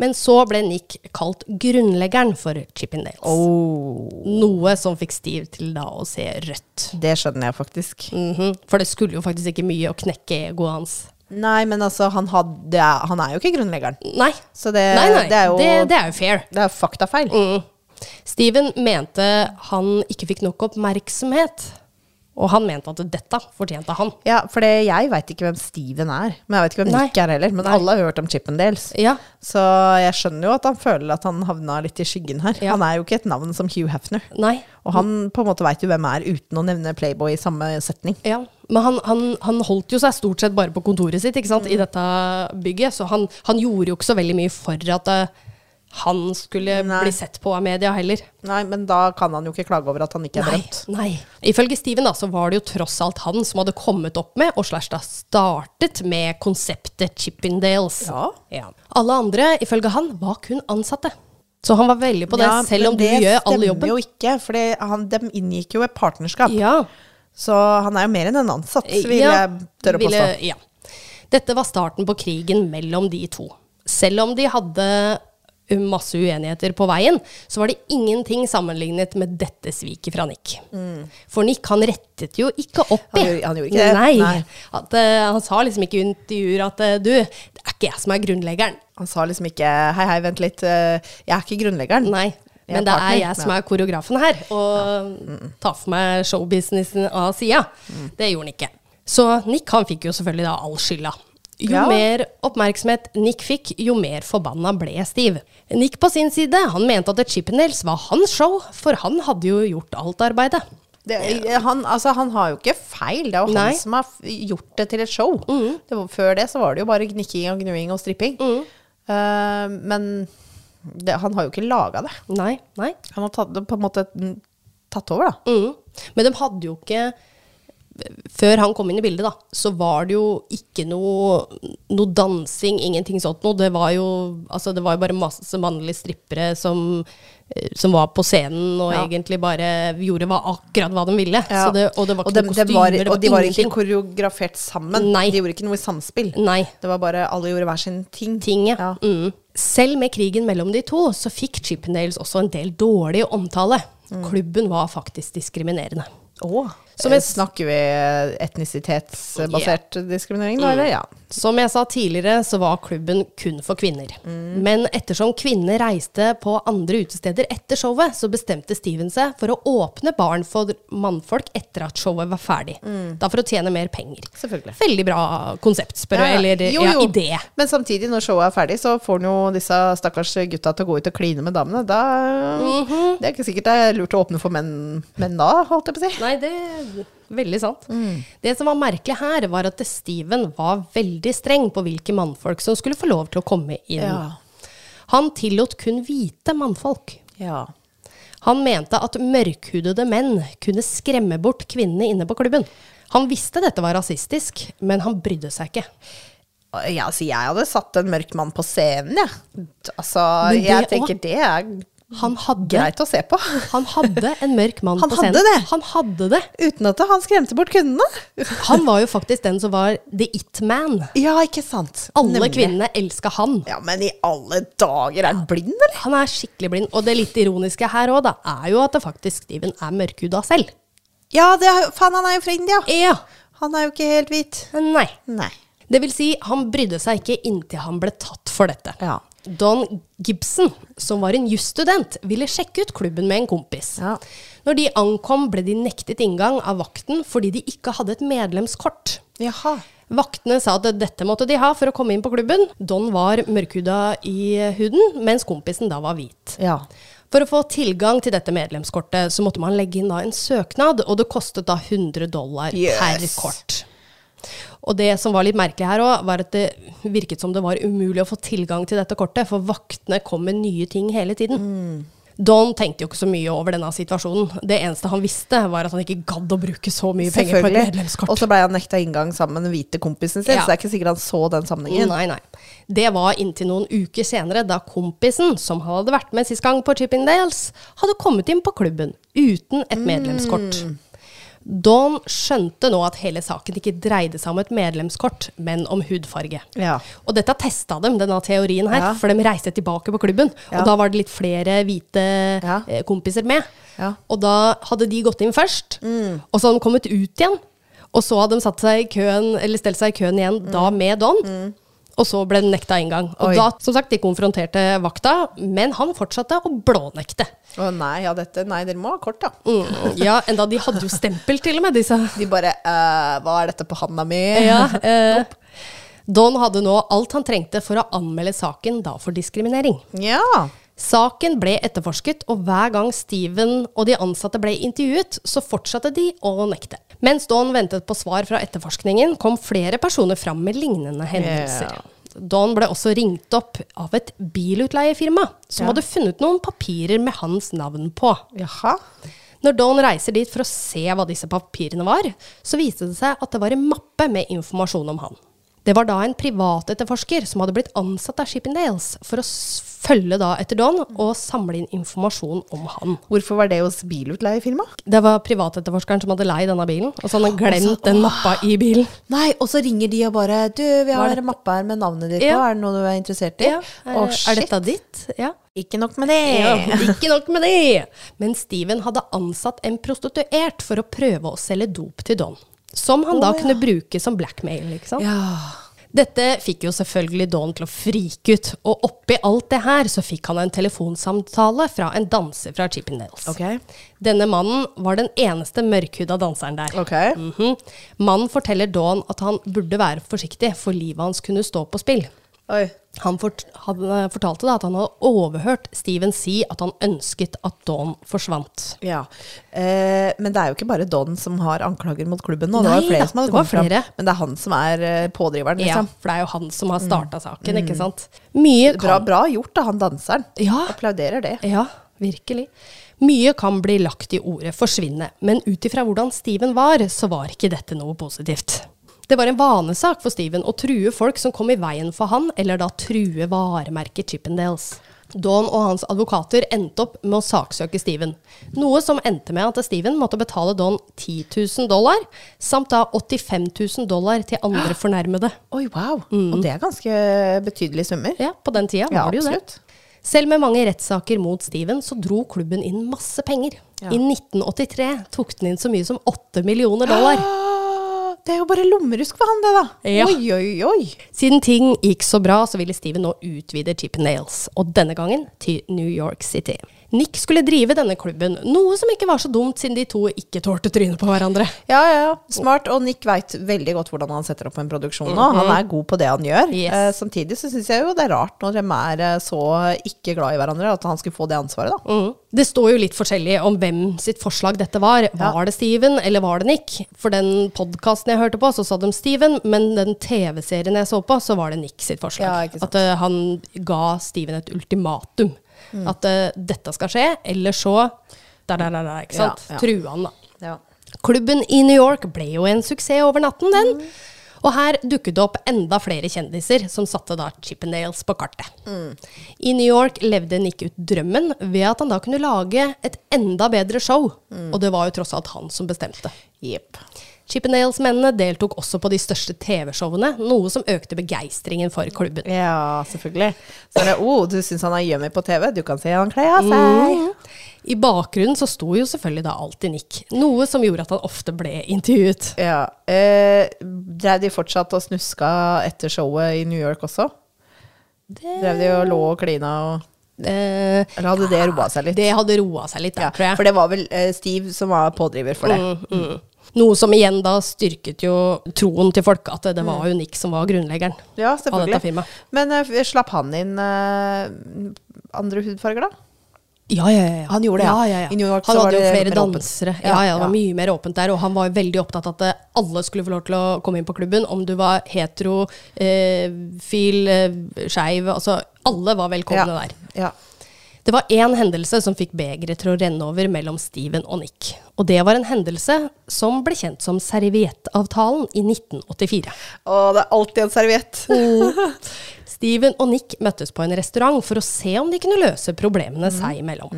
Speaker 1: Men så ble Nick kalt grunnleggeren for Chippendales. Noe som fikk Steve til da å se rødt.
Speaker 2: Det skjønner jeg faktisk.
Speaker 1: Mhm. For det skulle jo faktisk ikke mye å knekke egoet hans.
Speaker 2: Nei, men altså, han, had, det er, han er jo ikke grunnleggeren.
Speaker 1: Nei.
Speaker 2: Så det,
Speaker 1: nei, nei.
Speaker 2: Eh, det er jo
Speaker 1: det,
Speaker 2: det,
Speaker 1: er jo fair.
Speaker 2: er faktafeil.
Speaker 1: Mm. Steven mente han ikke fikk nok oppmerksomhet. Og han mente at dette fortjente han.
Speaker 2: Ja, for det, jeg veit ikke hvem Steven er. Men jeg vet ikke hvem
Speaker 1: Nei.
Speaker 2: Nick er heller. Men
Speaker 1: Nei.
Speaker 2: alle har hørt om Chippendales.
Speaker 1: Ja.
Speaker 2: Så jeg skjønner jo at han føler at han havna litt i skyggen her.
Speaker 1: Ja.
Speaker 2: Han er jo ikke et navn som Hugh Hefner.
Speaker 1: Nei.
Speaker 2: Og han på en måte veit jo hvem er, uten å nevne Playboy i samme setning.
Speaker 1: Ja. Men han, han, han holdt jo seg stort sett bare på kontoret sitt ikke sant?
Speaker 2: Mm.
Speaker 1: i dette bygget, så han, han gjorde jo ikke så veldig mye for at eh, han skulle
Speaker 2: Nei.
Speaker 1: bli sett på av media heller.
Speaker 2: Nei, men da kan han jo ikke klage over at han ikke er
Speaker 1: Nei,
Speaker 2: berømt.
Speaker 1: nei. Ifølge Steven da, så var det jo tross alt han som hadde kommet opp med, og slash da startet med konseptet Chippendales.
Speaker 2: Ja.
Speaker 1: Alle andre, ifølge han, var kun ansatte. Så han var veldig på det,
Speaker 2: Ja,
Speaker 1: selv om
Speaker 2: men
Speaker 1: du
Speaker 2: det
Speaker 1: gjør alle
Speaker 2: stemmer
Speaker 1: jobben.
Speaker 2: jo ikke, for det- han- de inngikk jo et partnerskap.
Speaker 1: Ja. Eh,
Speaker 2: Så han er jo mer enn en ansatt, vil
Speaker 1: Ja,
Speaker 2: jeg tørre å påstå.
Speaker 1: ville- Ja. Dette var starten på krigen mellom de to. Selv om de hadde masse uenigheter på veien, så var det ingenting sammenlignet med dette sviket fra Nick. For Nick, han rettet jo ikke opp i
Speaker 2: Mm. Han gjorde- han gjorde ikke det.
Speaker 1: Nei.
Speaker 2: Nei.
Speaker 1: At, eh, han sa liksom ikke i intervjuer at eh, du, det er ikke jeg som er grunnleggeren.
Speaker 2: Han sa liksom ikke 'hei, hei, vent litt, eh, jeg er ikke grunnleggeren'.
Speaker 1: Nei.
Speaker 2: Jeg er
Speaker 1: Men det er
Speaker 2: partner.
Speaker 1: jeg som er koreografen her, og tar for meg showbusinessen av sida.
Speaker 2: Mm.
Speaker 1: Det gjorde han ikke. Så Nick han fikk jo selvfølgelig da all skylda. Jo
Speaker 2: Ja.
Speaker 1: mer oppmerksomhet Nick fikk, jo mer forbanna ble Steve. Nick på sin side han mente at Chippendales var hans show, for han hadde jo gjort alt arbeidet.
Speaker 2: Det, han, altså, han har jo ikke feil, det er jo
Speaker 1: Nei.
Speaker 2: han som har f- gjort det til et show. Det var, før det så var det jo bare gnikking og gnuing og stripping. Eh, men det, han har jo ikke laga det.
Speaker 1: Nei, nei.
Speaker 2: Han har tatt, på en måte mm, tatt over, da.
Speaker 1: Mm. Men de hadde jo ikke før han kom inn i bildet, da, så var det jo ikke noe, noe dansing, ingenting sånt noe. Det var jo, altså, det var jo bare masse mannlige strippere som, eh, som var på scenen og
Speaker 2: Ja.
Speaker 1: egentlig bare gjorde hva, akkurat hva de ville.
Speaker 2: Ja.
Speaker 1: Så det, og det var
Speaker 2: Og
Speaker 1: ikke
Speaker 2: dem-
Speaker 1: noe
Speaker 2: dem
Speaker 1: kostymer,
Speaker 2: var-
Speaker 1: det var,
Speaker 2: Og de var ikke
Speaker 1: ingenting.
Speaker 2: koreografert sammen.
Speaker 1: Nei.
Speaker 2: De gjorde ikke noe i samspill.
Speaker 1: Nei.
Speaker 2: Det var bare alle gjorde hver sin Mm. ting.
Speaker 1: Tinget.
Speaker 2: Ja.
Speaker 1: Mm. Selv med krigen mellom de to, så fikk Chippendales også en del dårlig omtale.
Speaker 2: Mm.
Speaker 1: Klubben var faktisk diskriminerende.
Speaker 2: Å.
Speaker 1: Som
Speaker 2: eh,
Speaker 1: et-
Speaker 2: snakker vi eh, etnisitetsbasert diskriminering, da, eller? Ja.
Speaker 1: Som jeg sa tidligere, så var klubben kun for kvinner.
Speaker 2: Mm.
Speaker 1: Men ettersom kvinner reiste på andre utesteder etter showet, så bestemte Steven seg for å åpne baren for mannfolk etter at showet var ferdig.
Speaker 2: Mm.
Speaker 1: Da for å tjene mer penger.
Speaker 2: Selvfølgelig.
Speaker 1: Veldig bra konsept, spør jeg,
Speaker 2: Ja, ja.
Speaker 1: eller
Speaker 2: Jo,
Speaker 1: ja,
Speaker 2: jo.
Speaker 1: idé.
Speaker 2: Men samtidig, når showet er ferdig, så får han jo disse stakkars gutta til å gå ut og kline med damene. Da, Det er ikke sikkert det er lurt å åpne for menn, menn da, holdt jeg på å si.
Speaker 1: Nei, det er veldig sant.
Speaker 2: Mm.
Speaker 1: Det som var merkelig her, var at Steven var veldig streng på hvilke mannfolk som skulle få lov til å komme inn.
Speaker 2: Ja.
Speaker 1: Han tillot kun hvite mannfolk.
Speaker 2: Ja.
Speaker 1: Han mente at mørkhudede menn kunne skremme bort kvinnene inne på klubben. Han visste dette var rasistisk, men han brydde seg ikke.
Speaker 2: Ja, altså, jeg hadde satt en mørk mann på scenen, jeg. Ja. Altså,
Speaker 1: Men det
Speaker 2: jeg
Speaker 1: også-
Speaker 2: tenker det er
Speaker 1: Han hadde,
Speaker 2: greit å se på.
Speaker 1: han hadde en mørk mann
Speaker 2: Han
Speaker 1: på
Speaker 2: hadde
Speaker 1: scenen.
Speaker 2: det?
Speaker 1: Han hadde det!
Speaker 2: Uten at han skremte bort kundene.
Speaker 1: Han var jo faktisk den som var the it-man.
Speaker 2: Ja, ikke sant.
Speaker 1: Alle
Speaker 2: Nemlig.
Speaker 1: kvinnene elska han.
Speaker 2: Ja, men i alle dager, er han blind, eller?
Speaker 1: Han er skikkelig blind. Og det litt ironiske her òg, da, er jo at det faktisk Steven er mørkhuda selv.
Speaker 2: Ja, det er, faen, han er jo fra India.
Speaker 1: Ja.
Speaker 2: Han er jo ikke helt hvit.
Speaker 1: Nei.
Speaker 2: Nei.
Speaker 1: Det vil si, han brydde seg ikke inntil han ble tatt for dette.
Speaker 2: Ja.
Speaker 1: Don Gibson, som var en jusstudent, ville sjekke ut klubben med en kompis.
Speaker 2: Ja.
Speaker 1: Når de ankom, ble de nektet inngang av vakten fordi de ikke hadde et medlemskort.
Speaker 2: Jaha.
Speaker 1: Vaktene sa at dette måtte de ha for å komme inn på klubben. Don var mørkhuda i huden, mens kompisen da var hvit.
Speaker 2: Ja.
Speaker 1: For å få tilgang til dette medlemskortet, så måtte man legge inn da en søknad, og det kostet da 100 dollar
Speaker 2: Yes.
Speaker 1: per kort. Og det som var litt merkelig her òg, var at det virket som det var umulig å få tilgang til dette kortet, for vaktene kom med nye ting hele tiden.
Speaker 2: Mm.
Speaker 1: Don tenkte jo ikke så mye over denne situasjonen. Det eneste han visste, var at han ikke gadd å bruke så mye penger på et
Speaker 2: Selvfølgelig.
Speaker 1: medlemskort.
Speaker 2: Og så ble han nekta inngang sammen med den hvite kompisen sin,
Speaker 1: Ja.
Speaker 2: så det er ikke sikkert han så den sammenhengen.
Speaker 1: Nei, nei. Det var inntil noen uker senere, da kompisen, som han hadde vært med sist gang på Chippendales, hadde kommet inn på klubben uten et medlemskort.
Speaker 2: Mm.
Speaker 1: Don skjønte nå at hele saken ikke dreide seg om et medlemskort, men om hudfarge.
Speaker 2: Ja.
Speaker 1: Og dette testa dem, denne teorien her,
Speaker 2: Ja.
Speaker 1: for de reiste tilbake på klubben.
Speaker 2: Ja.
Speaker 1: Og da var det litt flere hvite
Speaker 2: Ja.
Speaker 1: eh, kompiser med.
Speaker 2: Ja. Mm.
Speaker 1: Og da hadde de gått inn først, og så hadde de kommet ut igjen. Og så hadde de satt seg i køen, eller stelt seg i køen igjen, da med Don. Og så ble den nekta inngang. Og
Speaker 2: Mm. Oi.
Speaker 1: da, som sagt, de konfronterte vakta, men han fortsatte å blånekte.
Speaker 2: Å nei, ja, dette Nei, dere må ha kort, da.
Speaker 1: Mm, ja, enda de hadde jo stempel til og med, disse
Speaker 2: De bare eh, Hva er dette på handa mi?
Speaker 1: Ja, eh, Don hadde nå alt han trengte for å anmelde saken da for diskriminering.
Speaker 2: Ja.
Speaker 1: Saken ble etterforsket, og hver gang Steven og de ansatte ble intervjuet, så fortsatte de å nekte. Mens Don ventet på svar fra etterforskningen, kom flere personer fram med lignende hendelser.
Speaker 2: Ja.
Speaker 1: Don ble også ringt opp av et bilutleiefirma som
Speaker 2: Ja.
Speaker 1: hadde funnet noen papirer med hans navn på.
Speaker 2: Jaha.
Speaker 1: Når Don reiser dit for å se hva disse papirene var, så viste det seg at det var en mappe med informasjon om han. Det var da en privatetterforsker som hadde blitt ansatt av Shippendales for å s- følge da etter Don og samle inn informasjon om han.
Speaker 2: Hvorfor var det hos bilutleiefirmaet?
Speaker 1: Det var privatetterforskeren som hadde leid denne bilen, og så hadde han glemt
Speaker 2: så-
Speaker 1: den mappa i bilen.
Speaker 2: Nei, og så ringer de og bare Du, vi
Speaker 1: Hva
Speaker 2: har
Speaker 1: er
Speaker 2: en mappe her med navnet ditt
Speaker 1: Ja.
Speaker 2: på, er det noe du er interessert i?
Speaker 1: Ja, er,
Speaker 2: Å,
Speaker 1: er dette ditt? Ja.
Speaker 2: Ikke nok med det.
Speaker 1: Ja, ikke nok med det. Men Steven hadde ansatt en prostituert for å prøve å selge dop til Don. Som han da
Speaker 2: Å, ja.
Speaker 1: kunne bruke som blackmail, ikke sant?
Speaker 2: Ja.
Speaker 1: Dette fikk jo selvfølgelig Dawn til å frike ut, og oppi alt det her så fikk han en telefonsamtale fra en danser fra Chippendales.
Speaker 2: Ok.
Speaker 1: Denne mannen var den eneste mørkhuda danseren der.
Speaker 2: Ok.
Speaker 1: Mhm. Mannen forteller Dawn at han burde være forsiktig, for livet hans kunne stå på spill.
Speaker 2: Oi.
Speaker 1: Han, fort, han eh, fortalte da at han hadde overhørt Steven si at han ønsket at Dawn forsvant.
Speaker 2: Ja. Eh, men det er jo ikke bare Don som har anklager mot klubben nå. Det
Speaker 1: Nei
Speaker 2: var jo flere
Speaker 1: da,
Speaker 2: som hadde
Speaker 1: det var
Speaker 2: kommet fram.
Speaker 1: flere.
Speaker 2: Men det er han som er eh, pådriveren,
Speaker 1: Ja,
Speaker 2: liksom. Mm.
Speaker 1: for det er jo han som har starta saken, ikke sant? Mye
Speaker 2: Bra,
Speaker 1: kan
Speaker 2: bra gjort av han danseren.
Speaker 1: Ja.
Speaker 2: Applauderer det.
Speaker 1: Ja, virkelig. Mye kan bli lagt i ordet 'forsvinne', men ut ifra hvordan Steven var, så var ikke dette noe positivt. Det var en vanesak for Steven å true folk som kom i veien for han, eller da true varemerket Chippendales. Dawn og hans advokater endte opp med å saksøke Steven, noe som endte med at Steven måtte betale Dawn 10 000 dollar, samt da 85 000 dollar til andre fornærmede.
Speaker 2: Oi, wow. Og det er ganske betydelige summer.
Speaker 1: Mm. Ja, på den tida var det jo det.
Speaker 2: absolutt.
Speaker 1: Selv med mange rettssaker mot Steven, så dro klubben inn masse penger.
Speaker 2: Ja.
Speaker 1: I 1983 tok den inn så mye som 8 millioner dollar.
Speaker 2: Ah, Det er jo bare lommerusk for han, det, da.
Speaker 1: Ja.
Speaker 2: Oi, oi, oi.
Speaker 1: Siden ting gikk så bra, så ville Steven nå utvide Chippendales, og denne gangen til New York City. Nick skulle drive denne klubben, noe som ikke var så dumt siden de to ikke tålte trynet på hverandre.
Speaker 2: Ja, ja, ja. Smart. Og Nick veit veldig godt hvordan han setter opp en produksjon nå. Han er god på det han gjør.
Speaker 1: Mm-hmm. Yes.
Speaker 2: Eh, samtidig så syns jeg jo det er rart når de er eh, så ikke glad i hverandre, at han skulle få det ansvaret, da.
Speaker 1: Mm. Det står jo litt forskjellig om hvem sitt forslag dette var. Var det Steven, eller var det Nick? For den podkasten jeg hørte på, så sa de Steven, men den TV-serien jeg så på, så var det Nick sitt forslag.
Speaker 2: Ja, ikke sant.
Speaker 1: At eh, han ga Steven et ultimatum. At eh, dette skal skje, eller så der, der, der, der, ikke
Speaker 2: Mm. Ja,
Speaker 1: sant?
Speaker 2: ja.
Speaker 1: True han, da.
Speaker 2: Ja.
Speaker 1: Klubben i New York ble jo en suksess over natten, den. Og her dukket det opp enda flere kjendiser som satte da Chippendales på kartet. I New York levde Nick ut drømmen ved at han da kunne lage et enda bedre show. Og det var jo tross alt han som bestemte.
Speaker 2: Jepp.
Speaker 1: Chippendales-mennene deltok også på de største TV-showene, noe som økte begeistringen for klubben.
Speaker 2: Ja, selvfølgelig. Så er det, oh, du syns han er yummy på TV, du kan se han kle av seg.
Speaker 1: Mm. I bakgrunnen så sto jo selvfølgelig da alltid Nick, noe som gjorde at han ofte ble intervjuet.
Speaker 2: Ja. Eh, Drev de fortsatt og snuska etter showet i New York også? Drev de og lå og klina og
Speaker 1: Eh,
Speaker 2: Eller hadde det roa seg litt?
Speaker 1: det hadde roa seg litt der,
Speaker 2: ja,
Speaker 1: tror jeg.
Speaker 2: for det var vel eh, Steve som var pådriver for det.
Speaker 1: Mm. Noe som igjen da styrket jo troen til folk, at det var jo Nick som var grunnleggeren.
Speaker 2: Mm. Ja,
Speaker 1: Av dette
Speaker 2: selvfølgelig.
Speaker 1: firmaet.
Speaker 2: Men eh, f- slapp han inn eh, andre hudfarger, da?
Speaker 1: Ja, ja, ja.
Speaker 2: Han gjorde det, ja.
Speaker 1: ja, ja,
Speaker 2: I New York
Speaker 1: han
Speaker 2: så var
Speaker 1: hadde jo
Speaker 2: det
Speaker 1: flere
Speaker 2: mer åpent.
Speaker 1: dansere.
Speaker 2: Ja,
Speaker 1: Ja, ja, det var
Speaker 2: ja.
Speaker 1: mye mer åpent der, og han var jo veldig opptatt av at eh, alle skulle få lov til å komme inn på klubben, om du var hetero, eh, fil, eh, skeiv, altså alle var velkomne der.
Speaker 2: Ja.
Speaker 1: Det var én hendelse som fikk begeret til å renne over mellom Steven og Nick. Og det var en hendelse som ble kjent som serviettavtalen i 1984.
Speaker 2: Og det er alltid en serviett.
Speaker 1: Steven og Nick møttes på en restaurant for å se om de kunne løse problemene seg imellom.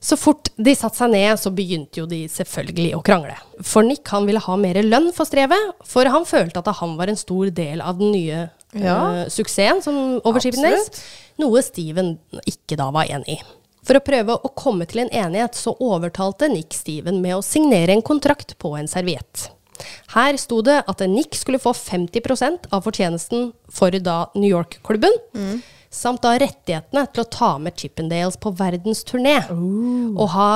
Speaker 1: Så fort de satte seg ned, så begynte jo de selvfølgelig å krangle. For Nick han ville ha mer lønn for strevet, for han følte at han var en stor del av den nye
Speaker 2: Ja.
Speaker 1: eh, suksessen som over Chippendales, noe Steven ikke da var enig i. For å prøve å komme til en enighet, så overtalte Nick Steven med å signere en kontrakt på en serviett. Her sto det at Nick skulle få 50 av fortjenesten for da New York-klubben, samt da rettighetene til å ta med Chippendales på verdensturné, og ha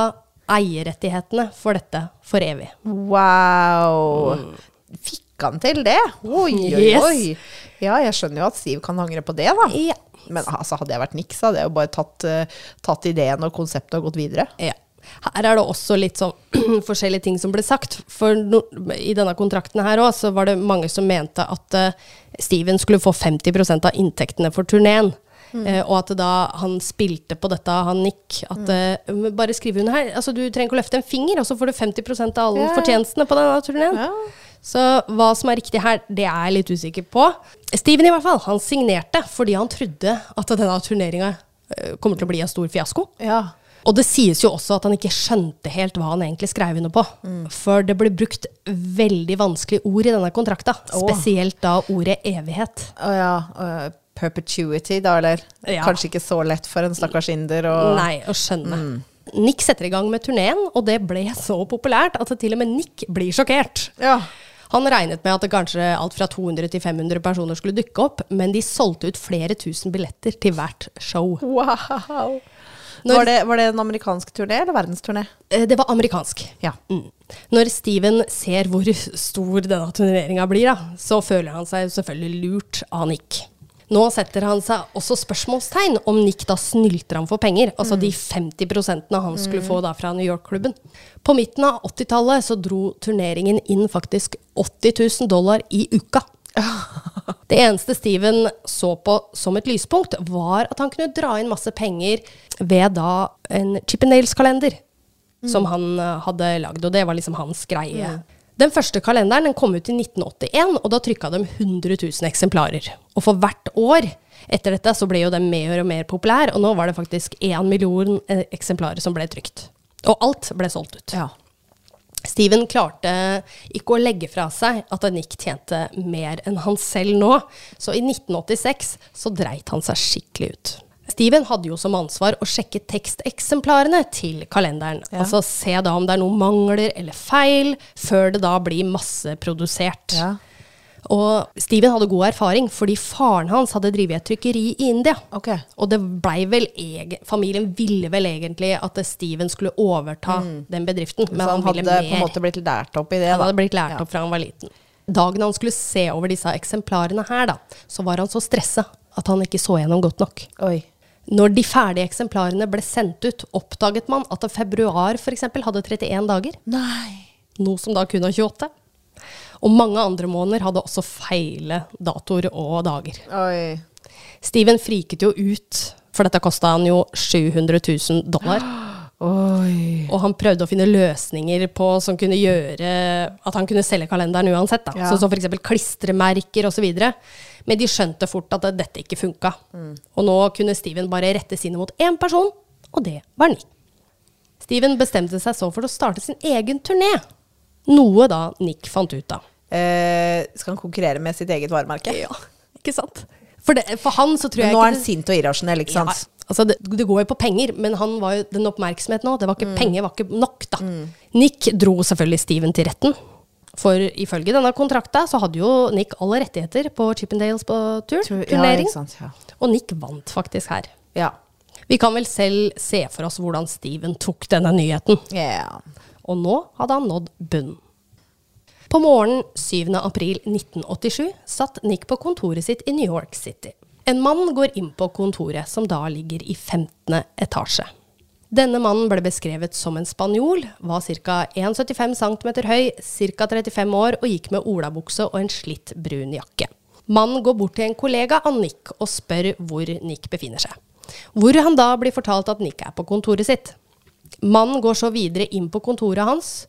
Speaker 1: eierrettighetene for dette for evig.
Speaker 2: Mm. Wow! Fikk han til det? Oi, oi,
Speaker 1: Yes.
Speaker 2: oi. Ja, jeg skjønner jo at Steve kan angre på det, da.
Speaker 1: Ja.
Speaker 2: Men altså, hadde jeg vært Nick, så hadde jeg jo bare tatt, eh, tatt ideen og konseptet og gått videre.
Speaker 1: Ja. Her er det også litt sånn forskjellige ting som ble sagt. For no, i denne kontrakten her òg, så var det mange som mente at eh, Steven skulle få 50 av inntektene for turneen.
Speaker 2: Mm.
Speaker 1: Eh, og at da han spilte på dette, han Nick,
Speaker 2: Mm.
Speaker 1: at eh, men Bare skriv under her. Altså, du trenger ikke å løfte en finger, og så får du 50 av alle
Speaker 2: Ja, ja.
Speaker 1: fortjenestene på denne turneen.
Speaker 2: Ja.
Speaker 1: Så hva som er riktig her, det er jeg litt usikker på. Steven i hvert fall, han signerte fordi han trodde at denne turneringa kommer til å bli en stor fiasko.
Speaker 2: Ja.
Speaker 1: Og det sies jo også at han ikke skjønte helt hva han egentlig skrev under på.
Speaker 2: Mm.
Speaker 1: For det ble brukt veldig vanskelige ord i denne kontrakta.
Speaker 2: Åh.
Speaker 1: Spesielt da ordet evighet.
Speaker 2: Å ja. eh, perpetuity, da, eller?
Speaker 1: Ja.
Speaker 2: Kanskje ikke så lett for en stakkars inder å
Speaker 1: Nei, å skjønne.
Speaker 2: Mm.
Speaker 1: Nick setter i gang med turneen, og det ble så populært at til og med Nick blir sjokkert.
Speaker 2: Ja.
Speaker 1: Han regnet med at det kanskje alt fra 200 til 500 personer skulle dukke opp, men de solgte ut flere tusen billetter til hvert show.
Speaker 2: Wow!
Speaker 1: Når-
Speaker 2: Var, det, var det en amerikansk turné eller verdensturné?
Speaker 1: Eh, Det var amerikansk.
Speaker 2: Ja.
Speaker 1: Mm. Når Steven ser hvor stor denne turneringa blir, da, så føler han seg selvfølgelig lurt av Nick. Nå setter han seg også spørsmålstegn om Nick da snylter ham for penger, altså de 50 han skulle få da fra New York-klubben. På midten av 80-tallet så dro turneringen inn faktisk 80 000 dollar i uka. Det eneste Steven så på som et lyspunkt, var at han kunne dra inn masse penger ved da en Chippendales-kalender som han eh, hadde lagd, og det var liksom hans greie. Den første kalenderen den kom ut i 1981, og da trykka de 100 000 eksemplarer. Og for hvert år etter dette så ble jo den mer og mer populær, og nå var det faktisk 1 million eh, eksemplarer som ble trykt. Og alt ble solgt ut.
Speaker 2: Ja.
Speaker 1: Steven klarte ikke å legge fra seg at han ikke tjente mer enn han selv nå, så i 1986 så dreit han seg skikkelig ut. Steven hadde jo som ansvar å sjekke teksteksemplarene til kalenderen.
Speaker 2: Ja.
Speaker 1: Altså se da om det er noen mangler eller feil, før det da blir masseprodusert.
Speaker 2: ja.
Speaker 1: Og Steven hadde god erfaring, fordi faren hans hadde drevet et trykkeri i India.
Speaker 2: Ok.
Speaker 1: Og det blei vel egen, familien ville vel egentlig at Steven skulle overta den bedriften, men
Speaker 2: Mm. så
Speaker 1: han,
Speaker 2: han hadde
Speaker 1: ville
Speaker 2: på en
Speaker 1: mer.
Speaker 2: måte blitt lært opp i det,
Speaker 1: Han
Speaker 2: da.
Speaker 1: hadde blitt lært opp fra han var liten. Dagen han skulle se over disse eksemplarene her, da, så var han så stressa at han ikke så gjennom godt nok.
Speaker 2: Oi.
Speaker 1: Når de ferdige eksemplarene ble sendt ut, oppdaget man at februar f.eks. hadde 31 dager,
Speaker 2: Nei.
Speaker 1: noe som da kun har 28. Og mange andre måneder hadde også feile datoer og dager.
Speaker 2: Oi.
Speaker 1: Steven friket jo ut, for dette kosta han jo 700 000 dollar.
Speaker 2: Oi.
Speaker 1: Og han prøvde å finne løsninger på som kunne gjøre at han kunne selge kalenderen uansett. Da.
Speaker 2: Ja.
Speaker 1: Sånn som f.eks. klistremerker osv. Men de skjønte fort at dette ikke funka.
Speaker 2: Mm.
Speaker 1: Og nå kunne Steven bare rette sine mot én person, og det var Nick. Steven bestemte seg så for å starte sin egen turné. Noe da Nick fant ut av.
Speaker 2: Eh, skal han konkurrere med sitt eget varemerke?
Speaker 1: Ja, ikke sant? For, det, for han så tror
Speaker 2: Men
Speaker 1: jeg
Speaker 2: nå
Speaker 1: ikke
Speaker 2: er han
Speaker 1: det-
Speaker 2: sint og irrasjonell, ikke sant?
Speaker 1: Ja, altså det, det går jo på penger, men han var jo den oppmerksomheten òg. Det var ikke
Speaker 2: Mm.
Speaker 1: penger, var ikke nok, da. Nick dro selvfølgelig Steven til retten. For ifølge denne kontrakta så hadde jo Nick alle rettigheter på Chippendales på tur,
Speaker 2: Tror-
Speaker 1: turnering.
Speaker 2: Ja, ikke sant? Ja.
Speaker 1: og Nick vant faktisk her.
Speaker 2: Ja.
Speaker 1: Vi kan vel selv se for oss hvordan Steven tok denne nyheten.
Speaker 2: Ja.
Speaker 1: Og nå hadde han nådd bunnen. På morgenen 7. april 1987 satt Nick på kontoret sitt i New York City. En mann går inn på kontoret, som da ligger i 15. etasje. Denne mannen ble beskrevet som en spanjol, var ca. 1,75 cm høy, ca. 35 år og gikk med olabukse og en slitt brun jakke. Mannen går bort til en kollega av Nick og spør hvor Nick befinner seg. Hvor han da blir fortalt at Nick er på kontoret sitt. Mannen går så videre inn på kontoret hans,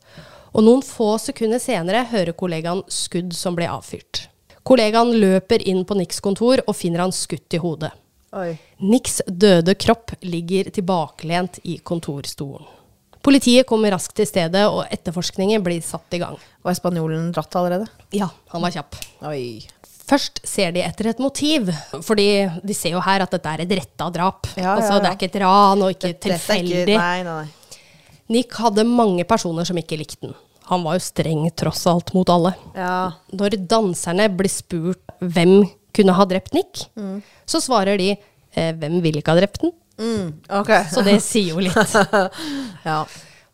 Speaker 1: og noen få sekunder senere hører kollegaen skudd som blir avfyrt. Kollegaen løper inn på Nicks kontor og finner han skutt i hodet.
Speaker 2: Oi.
Speaker 1: Nicks døde kropp ligger tilbakelent i kontorstolen. Politiet kommer raskt til stedet, og etterforskningen blir satt i gang.
Speaker 2: Var spanjolen dratt allerede?
Speaker 1: Ja, han var kjapp.
Speaker 2: Oi.
Speaker 1: Først ser de etter et motiv, fordi de ser jo her at dette er et retta drap.
Speaker 2: Ja, ja,
Speaker 1: altså, Det
Speaker 2: ja.
Speaker 1: er ikke et ran og ikke
Speaker 2: Dette er
Speaker 1: tilfeldig.
Speaker 2: ikke- Nei, nei, nei.
Speaker 1: Nick hadde mange personer som ikke likte den. Han var jo streng tross alt mot alle.
Speaker 2: Ja.
Speaker 1: Når danserne blir spurt hvem kunne ha drept Nick, så svarer de eh, 'Hvem ville ikke ha drept den?'
Speaker 2: Mm, ok.
Speaker 1: Så det sier jo litt.
Speaker 2: Ja.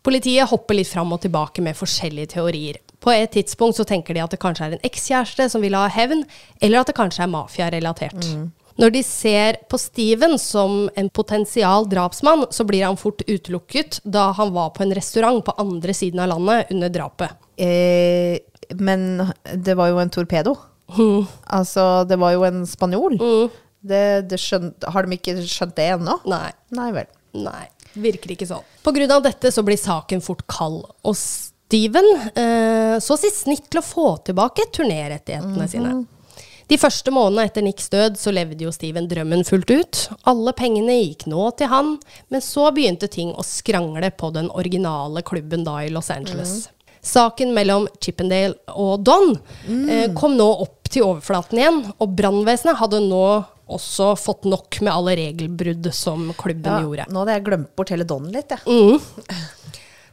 Speaker 1: Politiet hopper litt fram og tilbake med forskjellige teorier. På et tidspunkt så tenker de at det kanskje er en ekskjæreste som vil ha hevn, eller at det kanskje er mafiarelatert. Når de ser på Steven som en potensial drapsmann, så blir han fort utelukket da han var på en restaurant på andre siden av landet under drapet.
Speaker 2: Eh, men det var jo en torpedo.
Speaker 1: Mm.
Speaker 2: Altså, det var jo en spanjol. Det, det skjønt, har de ikke skjønt det ennå?
Speaker 1: Nei.
Speaker 2: Nei vel.
Speaker 1: Nei, virker ikke sånn. På grunn av dette så blir saken fort kald, og Steven eh, så sitt snitt til å få tilbake turnérettighetene sine. De første månedene etter Nicks død så levde jo Steven drømmen fullt ut. Alle pengene gikk nå til han, men så begynte ting å skrangle på den originale klubben da i Los Angeles. Saken mellom Chippendale og Don eh, kom nå opp til overflaten igjen, og brannvesenet hadde nå også fått nok med alle regelbrudd som klubben
Speaker 2: Ja,
Speaker 1: gjorde. Mm.
Speaker 2: nå hadde jeg glemt bort hele Don litt, jeg.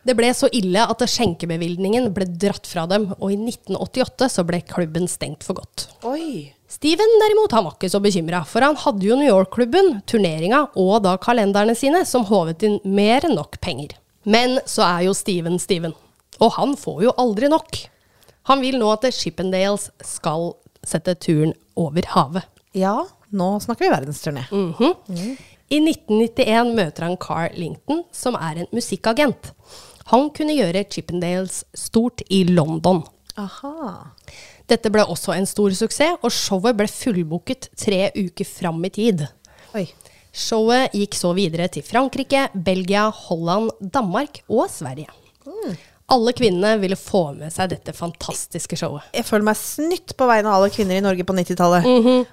Speaker 1: Det ble så ille at skjenkebevilgningen ble dratt fra dem, og i 1988 så ble klubben stengt for godt.
Speaker 2: Oi.
Speaker 1: Steven derimot han var ikke så bekymra, for han hadde jo New York-klubben, turneringa og da kalenderne sine, som håvet inn mer enn nok penger. Men så er jo Steven Steven, og han får jo aldri nok. Han vil nå at Shippendales skal sette turen over havet.
Speaker 2: Ja, nå snakker vi verdensturné.
Speaker 1: Mhm. I 1991 møter han Carl Linton, som er en musikkagent. Han kunne gjøre Chippendales stort i London.
Speaker 2: Aha.
Speaker 1: Dette ble også en stor suksess, og showet ble fullbooket tre uker fram i tid.
Speaker 2: Oi.
Speaker 1: Showet gikk så videre til Frankrike, Belgia, Holland, Danmark og Sverige. Alle kvinnene ville få med seg dette fantastiske showet.
Speaker 2: Jeg føler meg snytt på vegne av alle kvinner i Norge på 90-tallet.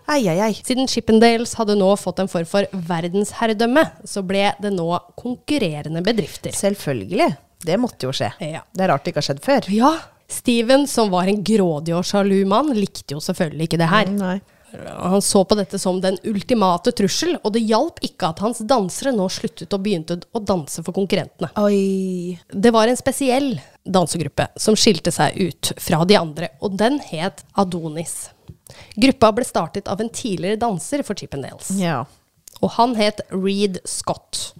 Speaker 2: Ei, ei, ei.
Speaker 1: Siden Chippendales hadde nå fått en form for verdensherredømme, så ble det nå konkurrerende bedrifter.
Speaker 2: Selvfølgelig. Det måtte jo skje.
Speaker 1: Ja.
Speaker 2: Det er rart det ikke har skjedd før.
Speaker 1: Ja, Steven, som var en grådig og sjalu mann, likte jo selvfølgelig ikke det her.
Speaker 2: Mm, Nei.
Speaker 1: Han så på dette som den ultimate trussel, og det hjalp ikke at hans dansere nå sluttet og begynte å danse for konkurrentene.
Speaker 2: Oi.
Speaker 1: Det var en spesiell dansegruppe som skilte seg ut fra de andre, og den het Adonis. Gruppa ble startet av en tidligere danser for Chippendales,
Speaker 2: Ja.
Speaker 1: og han het Reed Scott.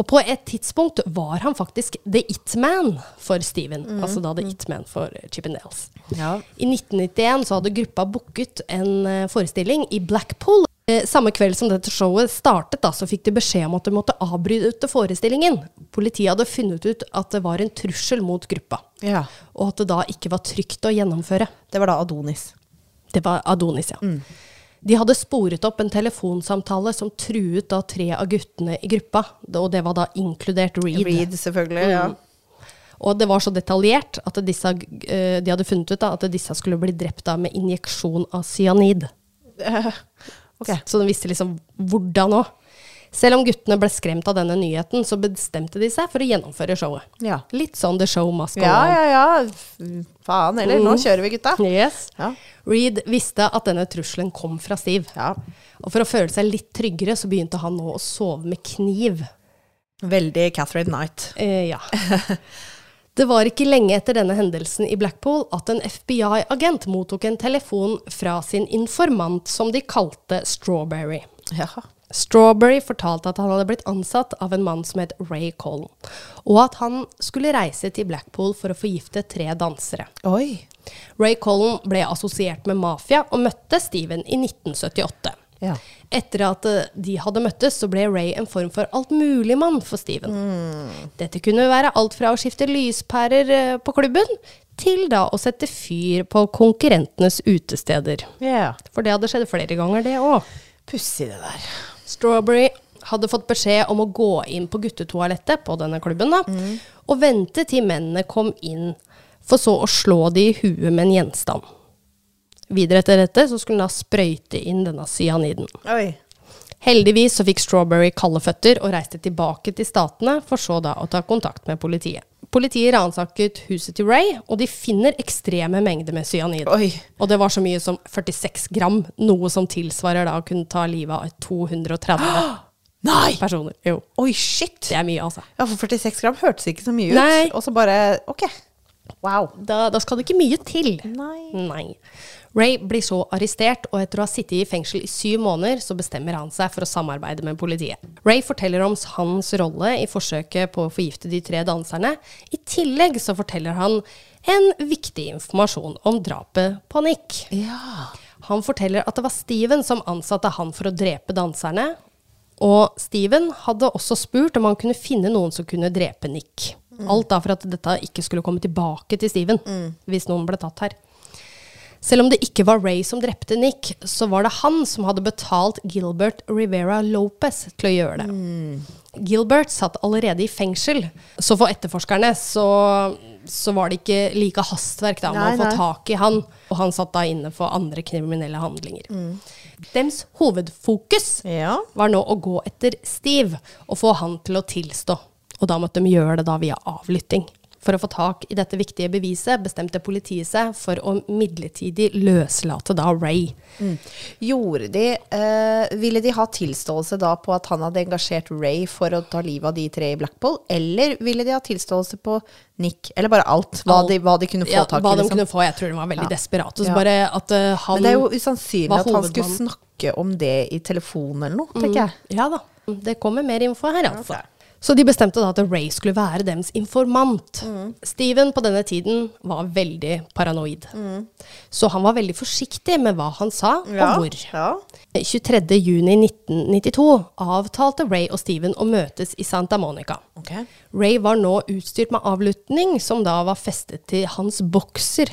Speaker 1: Og på et tidspunkt var han faktisk The It-Man for Steven, altså da The It-Man for Chippendales.
Speaker 2: ja.
Speaker 1: I 1991 så hadde gruppa booket en eh, forestilling i Blackpool. Eh, Samme kveld som dette showet startet, da, så fikk de beskjed om at de måtte avbryte forestillingen. Politiet hadde funnet ut at det var en trussel mot gruppa,
Speaker 2: Ja.
Speaker 1: og at det da ikke var trygt å gjennomføre.
Speaker 2: Det var da Adonis.
Speaker 1: Det var Adonis, ja. De hadde sporet opp en telefonsamtale som truet da tre av guttene i gruppa, og det var da inkludert
Speaker 2: Reed, selvfølgelig. Ja.
Speaker 1: Mm. Og det var så detaljert at disse, eh, de hadde funnet ut da, at disse skulle bli drept av med injeksjon av cyanid.
Speaker 2: Eh, Ok.
Speaker 1: Så de visste liksom hvordan òg. Selv om guttene ble skremt av denne nyheten, så bestemte de seg for å gjennomføre showet.
Speaker 2: Ja.
Speaker 1: Litt sånn the show must go
Speaker 2: Ja,
Speaker 1: on.
Speaker 2: ja, ja. F- Faen heller. Nå
Speaker 1: Mm.
Speaker 2: kjører vi, gutta.
Speaker 1: Yes.
Speaker 2: Ja.
Speaker 1: Reed visste at denne trusselen kom fra Steve.
Speaker 2: Ja.
Speaker 1: Og for å føle seg litt tryggere, så begynte han nå å sove med kniv.
Speaker 2: Veldig Catherine Knight.
Speaker 1: Eh, ja. Det var ikke lenge etter denne hendelsen i Blackpool at en FBI-agent mottok en telefon fra sin informant som de kalte Strawberry.
Speaker 2: Ja.
Speaker 1: Strawberry fortalte at han hadde blitt ansatt av en mann som het Ray Collen, og at han skulle reise til Blackpool for å forgifte tre dansere.
Speaker 2: Oi.
Speaker 1: Ray Collen ble assosiert med mafia og møtte Steven i 1978.
Speaker 2: Ja.
Speaker 1: Etter at eh, de hadde møttes, så ble Ray en form for altmuligmann for Steven. Dette kunne være alt fra å skifte lyspærer eh, på klubben, til da å sette fyr på konkurrentenes utesteder.
Speaker 2: Ja.
Speaker 1: For det hadde skjedd flere ganger, det òg.
Speaker 2: Pussig, det der.
Speaker 1: Strawberry hadde fått beskjed om å gå inn på guttetoalettet på denne klubben, da, og vente til mennene kom inn, for så å slå de i huet med en gjenstand. Videre etter dette så skulle hun da sprøyte inn denne cyaniden.
Speaker 2: Oi.
Speaker 1: Heldigvis så fikk Strawberry kalde føtter og reiste tilbake til Statene, for så da å ta kontakt med politiet. Politiet ransaket huset til Ray, og de finner ekstreme mengder med cyanid.
Speaker 2: Oi.
Speaker 1: Og det var så mye som 46 gram, noe som tilsvarer da å kunne ta livet av 230
Speaker 2: Nei!
Speaker 1: personer. Jo,
Speaker 2: Oi, shit!
Speaker 1: det er mye, altså.
Speaker 2: Ja, for 46 gram hørtes ikke så mye ut.
Speaker 1: Nei.
Speaker 2: Og så bare Ok. Wow.
Speaker 1: Da, da skal det ikke mye til.
Speaker 2: Nei.
Speaker 1: Nei. Ray blir så arrestert, og etter å ha sittet i fengsel i syv måneder, så bestemmer han seg for å samarbeide med politiet. Ray forteller om hans rolle i forsøket på å forgifte de tre danserne. I tillegg så forteller han en viktig informasjon om drapet på Nick.
Speaker 2: Ja.
Speaker 1: Han forteller at det var Steven som ansatte han for å drepe danserne. Og Steven hadde også spurt om han kunne finne noen som kunne drepe Nick.
Speaker 2: Mm.
Speaker 1: Alt da for at dette ikke skulle komme tilbake til Steven hvis noen ble tatt her. Selv om det ikke var Ray som drepte Nick, så var det han som hadde betalt Gilbert Rivera Lopez til å gjøre det.
Speaker 2: Mm.
Speaker 1: Gilbert satt allerede i fengsel, så for etterforskerne så, så var det ikke like hastverk da, med
Speaker 2: Nei,
Speaker 1: å få
Speaker 2: nei.
Speaker 1: tak i han. Og han satt da inne for andre kriminelle handlinger.
Speaker 2: Mm.
Speaker 1: Dems hovedfokus
Speaker 2: Ja.
Speaker 1: var nå å gå etter Steve og få han til å tilstå. Og da måtte de gjøre det da via avlytting. For å få tak i dette viktige beviset bestemte politiet seg for å midlertidig løslate da Ray.
Speaker 2: Mm. Gjorde de eh, Ville de ha tilståelse da på at han hadde engasjert Ray for å ta livet av de tre i Blackpool, eller ville de ha tilståelse på Nick? Eller bare alt? Hva,
Speaker 1: Alt.
Speaker 2: de, hva de kunne få
Speaker 1: Ja,
Speaker 2: tak
Speaker 1: hva
Speaker 2: i?
Speaker 1: de
Speaker 2: Liksom.
Speaker 1: kunne få, Jeg tror de var veldig
Speaker 2: Ja.
Speaker 1: desperate. Så
Speaker 2: Ja.
Speaker 1: bare at eh, han
Speaker 2: Men det er jo
Speaker 1: var
Speaker 2: usannsynlig at han skulle
Speaker 1: hovedmannen.
Speaker 2: snakke om det i telefonen eller noe, tenker jeg.
Speaker 1: Ja da. Det kommer mer info her, altså.
Speaker 2: Ok.
Speaker 1: Så de bestemte da at Ray skulle være deres informant.
Speaker 2: Mm.
Speaker 1: Steven på denne tiden var veldig paranoid. Så han var veldig forsiktig med hva han sa
Speaker 2: Mm. Ja,
Speaker 1: og hvor. Eh,
Speaker 2: Ja.
Speaker 1: 23.6.1992 avtalte Ray og Steven å møtes i Santa Monica.
Speaker 2: Ok.
Speaker 1: Ray var nå utstyrt med avlytting, som da var festet til hans bokser.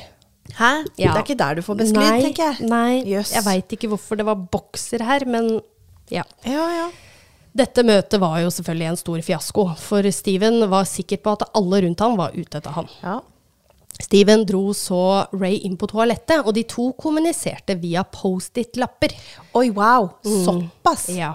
Speaker 2: Hæ?
Speaker 1: Ja.
Speaker 2: Det er ikke der du får best lyd,
Speaker 1: Nei,
Speaker 2: tenker jeg.
Speaker 1: Nei,
Speaker 2: Jøss.
Speaker 1: jeg veit ikke hvorfor det var bokser her, men ja.
Speaker 2: Ja, ja.
Speaker 1: Dette møtet var jo selvfølgelig en stor fiasko, for Steven var sikker på at alle rundt han var ute etter han.
Speaker 2: ja.
Speaker 1: Steven dro så Ray inn på toalettet, og de to kommuniserte via Post-It-lapper.
Speaker 2: Oi, wow. Såpass.
Speaker 1: Mm. Ja.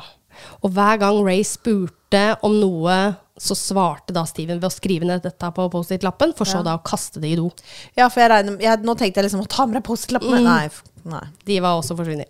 Speaker 1: Og hver gang Ray spurte om noe, så svarte da Steven ved å skrive ned dette på Post-It-lappen, for så da å kaste det i do.
Speaker 2: Ja, for jeg regner jeg, Nå tenkte jeg liksom å ta med deg Post-It-lappene.
Speaker 1: Mm.
Speaker 2: Nei, f- nei.
Speaker 1: De var også forsvunnet.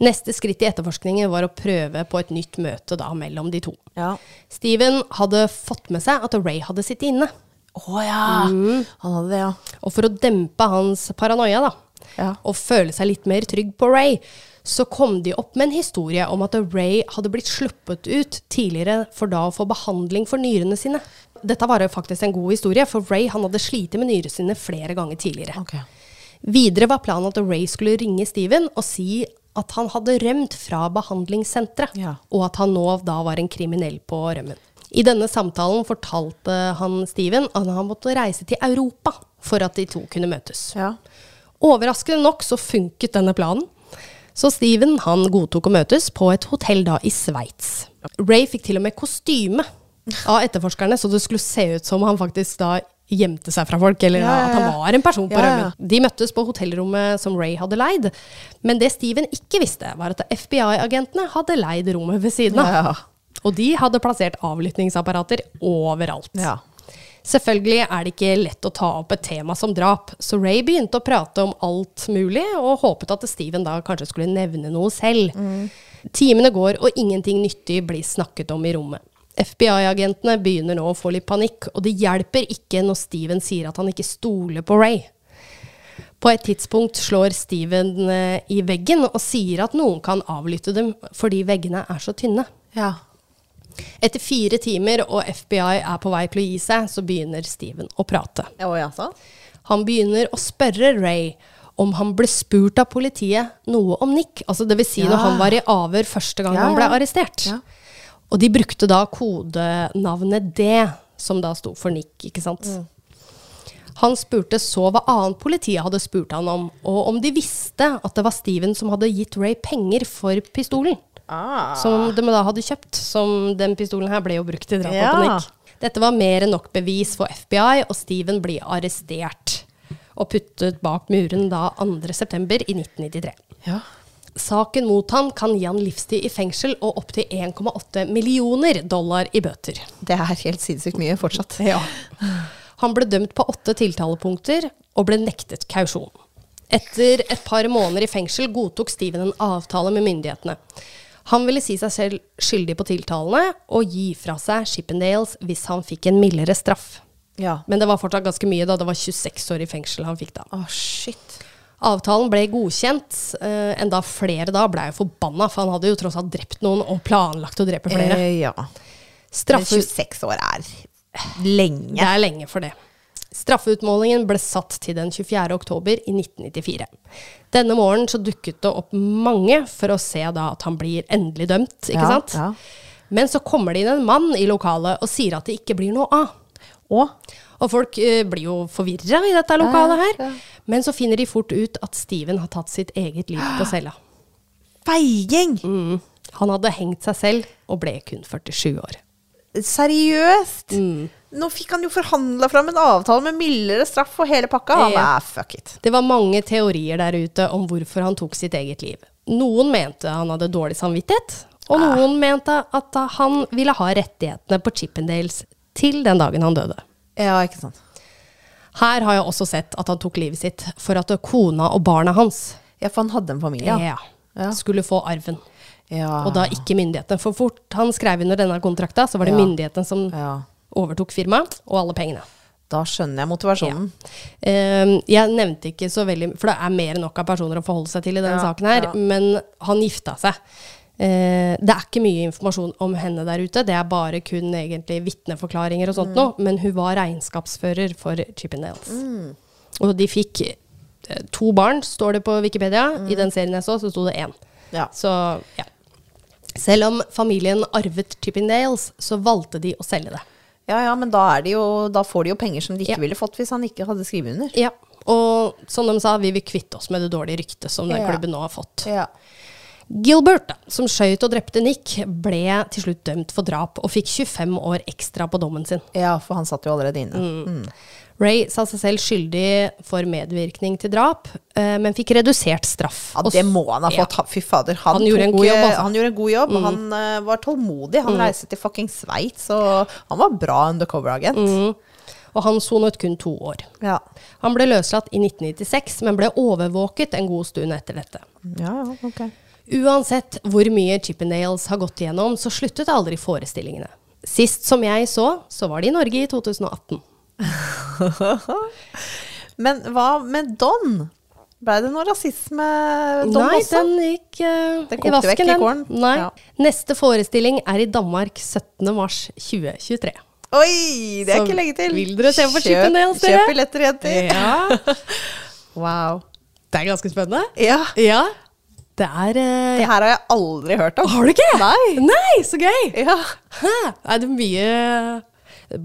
Speaker 1: Neste skritt i etterforskningen var å prøve på et nytt møte da mellom de to.
Speaker 2: Ja.
Speaker 1: Steven hadde fått med seg at Ray hadde sittet inne.
Speaker 2: Å ja.
Speaker 1: Mm.
Speaker 2: Han hadde det, ja.
Speaker 1: Og for å dempe hans paranoia da,
Speaker 2: Ja.
Speaker 1: og føle seg litt mer trygg på Ray, så kom de opp med en historie om at Ray hadde blitt sluppet ut tidligere for da å få behandling for nyrene sine. Dette var jo faktisk en god historie, for Ray han hadde slitt med nyrene sine flere ganger tidligere.
Speaker 2: Ok.
Speaker 1: Videre var planen at Ray skulle ringe Steven og si at han hadde rømt fra behandlingssenteret,
Speaker 2: Ja.
Speaker 1: og at han nå da var en kriminell på rømmen. I denne samtalen fortalte han Steven at han måtte reise til Europa for at de to kunne møtes.
Speaker 2: Ja.
Speaker 1: Overraskende nok så funket denne planen. Så Steven han godtok å møtes på et hotell da i Sveits. Ray fikk til og med kostyme av etterforskerne, så det skulle se ut som han faktisk da gjemte seg fra folk, eller
Speaker 2: Ja, ja, ja.
Speaker 1: at han var en person på
Speaker 2: Ja, ja.
Speaker 1: rømmen. De møttes på hotellrommet som Ray hadde leid, men det Steven ikke visste, var at FBI-agentene hadde leid rommet ved siden av.
Speaker 2: Ja.
Speaker 1: Og de hadde plassert avlyttingsapparater overalt.
Speaker 2: Ja.
Speaker 1: Selvfølgelig er det ikke lett å ta opp et tema som drap, så Ray begynte å prate om alt mulig, og håpet at Steven da kanskje skulle nevne noe selv. Timene går, og ingenting nyttig blir snakket om i rommet. FBI-agentene begynner nå å få litt panikk, og det hjelper ikke når Steven sier at han ikke stoler på Ray. På et tidspunkt slår Steven eh, i veggen og sier at noen kan avlytte dem fordi veggene er så tynne.
Speaker 2: ja.
Speaker 1: Etter fire timer og FBI er på vei til å gi seg, så begynner Steven å prate.
Speaker 2: Å ja, sånn?
Speaker 1: Han begynner å spørre Ray om han ble spurt av politiet noe om Nick. Altså det vil si
Speaker 2: Ja.
Speaker 1: når han var i avhør første gang
Speaker 2: Ja,
Speaker 1: han ble
Speaker 2: ja.
Speaker 1: arrestert.
Speaker 2: Ja.
Speaker 1: Og de brukte da kodenavnet D, som da sto for Nick, ikke sant.
Speaker 2: Mm.
Speaker 1: Han spurte så hva annet politiet hadde spurt han om, og om de visste at det var Steven som hadde gitt Ray penger for pistolen.
Speaker 2: Ah.
Speaker 1: Som de da hadde kjøpt, som den pistolen her ble jo brukt i drapet på
Speaker 2: Ja.
Speaker 1: Nick. Dette var mer enn nok bevis for FBI, og Steven blir arrestert og puttet bak muren da 2.9.1993.
Speaker 2: Ja.
Speaker 1: Saken mot han kan gi han livstid i fengsel og opptil 1,8 millioner dollar i bøter.
Speaker 2: Det er helt sinnssykt mye fortsatt.
Speaker 1: Han ble dømt på åtte tiltalepunkter og ble nektet kausjon. Etter et par måneder i fengsel godtok Steven en avtale med myndighetene. Han ville si seg selv skyldig på tiltalene og gi fra seg Shippendales hvis han fikk en mildere straff.
Speaker 2: Ja.
Speaker 1: Men det var fortsatt ganske mye, da. Det var 26 år i fengsel han fikk da.
Speaker 2: Å, shit.
Speaker 1: Avtalen ble godkjent, eh, enda flere da ble jo forbanna, for han hadde jo tross alt drept noen og planlagt å drepe flere.
Speaker 2: Eh, ja. Men
Speaker 1: Straffe,
Speaker 2: 26 år er lenge.
Speaker 1: det er lenge for det. Straffeutmålingen ble satt til den 24. oktober i 1994. Denne morgenen så dukket det opp mange for å se da at han blir endelig dømt, ikke
Speaker 2: Ja,
Speaker 1: sant?
Speaker 2: ja.
Speaker 1: Men så kommer det inn en mann i lokalet og sier at det ikke blir noe av.
Speaker 2: Og
Speaker 1: Og folk eh, blir jo forvirra i dette lokalet her.
Speaker 2: ja.
Speaker 1: Men så finner de fort ut at Steven har tatt sitt eget liv på cella.
Speaker 2: feiging!
Speaker 1: Mm. Han hadde hengt seg selv og ble kun 47 år.
Speaker 2: Seriøst?
Speaker 1: Mm.
Speaker 2: Nå fikk han jo forhandla fram en avtale med mildere straff og hele pakka. Han
Speaker 1: Ja.
Speaker 2: er fuck it.
Speaker 1: Det var mange teorier der ute om hvorfor han tok sitt eget liv. Noen mente han hadde dårlig samvittighet, og
Speaker 2: Ah.
Speaker 1: noen mente at han ville ha rettighetene på Chippendales til den dagen han døde.
Speaker 2: Ja, ikke sant.
Speaker 1: Her har jeg også sett at han tok livet sitt for at kona og barna hans
Speaker 2: Ja, for han hadde en familie.
Speaker 1: ja,
Speaker 2: Ja.
Speaker 1: skulle få arven.
Speaker 2: ja.
Speaker 1: Og da ikke myndighetene. For fort han skrev under denne kontrakta, så var det
Speaker 2: Ja.
Speaker 1: myndighetene som
Speaker 2: Ja.
Speaker 1: overtok firmaet og alle pengene.
Speaker 2: Da skjønner jeg motivasjonen.
Speaker 1: Eh, jeg nevnte ikke så veldig For det er mer enn nok av personer å forholde seg til i denne
Speaker 2: Ja,
Speaker 1: saken her.
Speaker 2: ja.
Speaker 1: Men han gifta seg. Eh, det er ikke mye informasjon om henne der ute. Det er bare kun egentlig vitneforklaringer og sånt
Speaker 2: Mm.
Speaker 1: noe. Men hun var regnskapsfører for Chippendales.
Speaker 2: Mm.
Speaker 1: Og de fikk eh, to barn, står det på Wikipedia. I den serien jeg så, så sto det én.
Speaker 2: Mm. Ja.
Speaker 1: Så ja. Selv om familien arvet Chippendales, så valgte de å selge det.
Speaker 2: Ja, ja, men da, er det jo, da får de jo penger som de ikke
Speaker 1: Ja.
Speaker 2: ville fått hvis han ikke hadde skrevet under.
Speaker 1: Ja, Og som de sa, vi vil kvitte oss med det dårlige ryktet som den
Speaker 2: Ja.
Speaker 1: klubben nå har fått.
Speaker 2: Ja.
Speaker 1: Gilbert, da, som skjøt og drepte Nick, ble til slutt dømt for drap og fikk 25 år ekstra på dommen sin.
Speaker 2: ja, for han satt jo allerede inne.
Speaker 1: Mm. Ray sa seg selv skyldig for medvirkning til drap, eh, men fikk redusert straff.
Speaker 2: Ja,
Speaker 1: Og s-
Speaker 2: det må han ha
Speaker 1: Ja.
Speaker 2: fått. Ha- Fy fader. Han,
Speaker 1: Han gjorde en
Speaker 2: tok,
Speaker 1: god jobb,
Speaker 2: eh,
Speaker 1: altså. Mm.
Speaker 2: Han gjorde en god jobb, og han eh, var tålmodig. Han reiste til fucking Sveits, og han var bra undercover-agent.
Speaker 1: Mm. Og han sonet kun to år.
Speaker 2: Ja.
Speaker 1: Han ble løslatt i 1996, men ble overvåket en god stund etter dette.
Speaker 2: ja, ja, ok.
Speaker 1: Uansett hvor mye Chippendales har gått igjennom, så sluttet aldri forestillingene. Sist som jeg så, så var de i Norge i 2018.
Speaker 2: Men hva med Don? Ble det noe rasisme, Don
Speaker 1: Nei,
Speaker 2: også?
Speaker 1: den gikk eh,
Speaker 2: Den
Speaker 1: i
Speaker 2: kokte vekk i
Speaker 1: vasken, den.
Speaker 2: kålen.
Speaker 1: Nei.
Speaker 2: Ja.
Speaker 1: Neste forestilling er i Danmark 17. mars 2023.
Speaker 2: Oi, det er
Speaker 1: Så
Speaker 2: ikke lenge til!
Speaker 1: vil dere se på
Speaker 2: Kjøp-
Speaker 1: Chippendales, dere?
Speaker 2: Kjøp billetter, jenter!
Speaker 1: Ja.
Speaker 2: Wow.
Speaker 1: Det er ganske spennende.
Speaker 2: Ja.
Speaker 1: Ja. Det er eh,
Speaker 2: Det her har jeg aldri hørt om.
Speaker 1: Har du ikke?
Speaker 2: Nei.
Speaker 1: Nei, så gøy!
Speaker 2: Ja.
Speaker 1: Hæ? Er det mye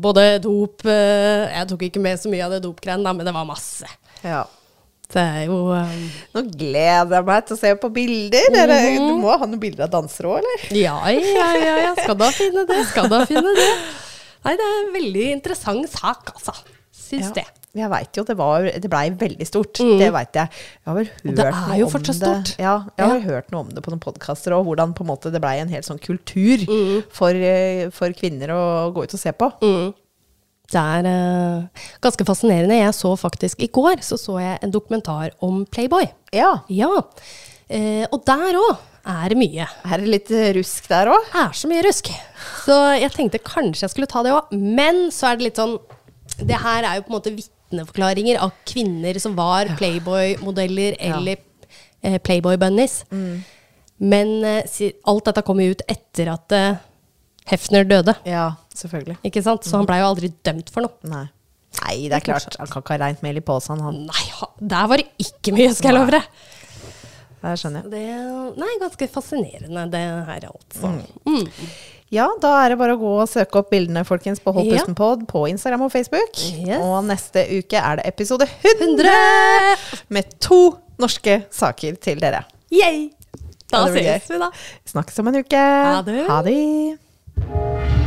Speaker 1: Både dop eh, Jeg tok ikke med så mye av det dopgreiene, da, men det var masse.
Speaker 2: ja.
Speaker 1: Det er jo eh,
Speaker 2: Nå gleder jeg meg til å se på bilder. Eller,
Speaker 1: Mhm.
Speaker 2: Du må ha noen bilder av dansere òg, eller?
Speaker 1: Ja, ja, ja, ja. Skal da finne det, skal da finne det. Nei, det er en veldig interessant sak, altså. Syns det. Mhm.
Speaker 2: Jeg veit jo, det, var- det blei veldig stort. Det veit jeg. Jeg har vel hørt
Speaker 1: det er
Speaker 2: noe
Speaker 1: jo
Speaker 2: om
Speaker 1: fortsatt
Speaker 2: det.
Speaker 1: stort.
Speaker 2: Ja, jeg har hørt noe om det på noen podkaster, og hvordan på en måte det blei en hel sånn kultur
Speaker 1: Mhm.
Speaker 2: for, eh, for kvinner å gå ut og se på.
Speaker 1: Mm. Det er eh, ganske fascinerende. Jeg så faktisk I går så, så jeg en dokumentar om Playboy.
Speaker 2: Ja.
Speaker 1: Ja. Eh, og der òg er det mye.
Speaker 2: Er det litt eh, rusk der òg?
Speaker 1: er så mye rusk. Så jeg tenkte kanskje jeg skulle ta det òg. Men så er det litt sånn Det her er jo på en måte vitneforklaringer av kvinner som var Playboy-modeller eller eh, Playboy-bunnies.
Speaker 2: Mm.
Speaker 1: Men eh, si- alt dette kom jo ut etter at eh, Hefner døde.
Speaker 2: Ja, selvfølgelig.
Speaker 1: Ikke sant?
Speaker 2: Mm.
Speaker 1: Så han blei jo aldri dømt for noe.
Speaker 2: Nei. Nei, det er klart. Han kan ikke ha reint mel i posen, han.
Speaker 1: Nei, ha- der var det ikke mye, skal jeg love deg. Mm.
Speaker 2: Det skjønner jeg.
Speaker 1: Det Nei, ganske fascinerende, det her, altså.
Speaker 2: Mm. Ja, da er det bare å gå og søke opp bildene folkens, på Hold
Speaker 1: Ja.
Speaker 2: pusten pod på Instagram og Facebook.
Speaker 1: Yes.
Speaker 2: Og neste uke er det episode 100
Speaker 1: 100!
Speaker 2: med to norske saker til dere.
Speaker 1: Yay! Da
Speaker 2: Ja, det blir
Speaker 1: ses
Speaker 2: gøy.
Speaker 1: vi, da.
Speaker 2: Snakkes om en uke.
Speaker 1: Ha det.
Speaker 2: Ha det.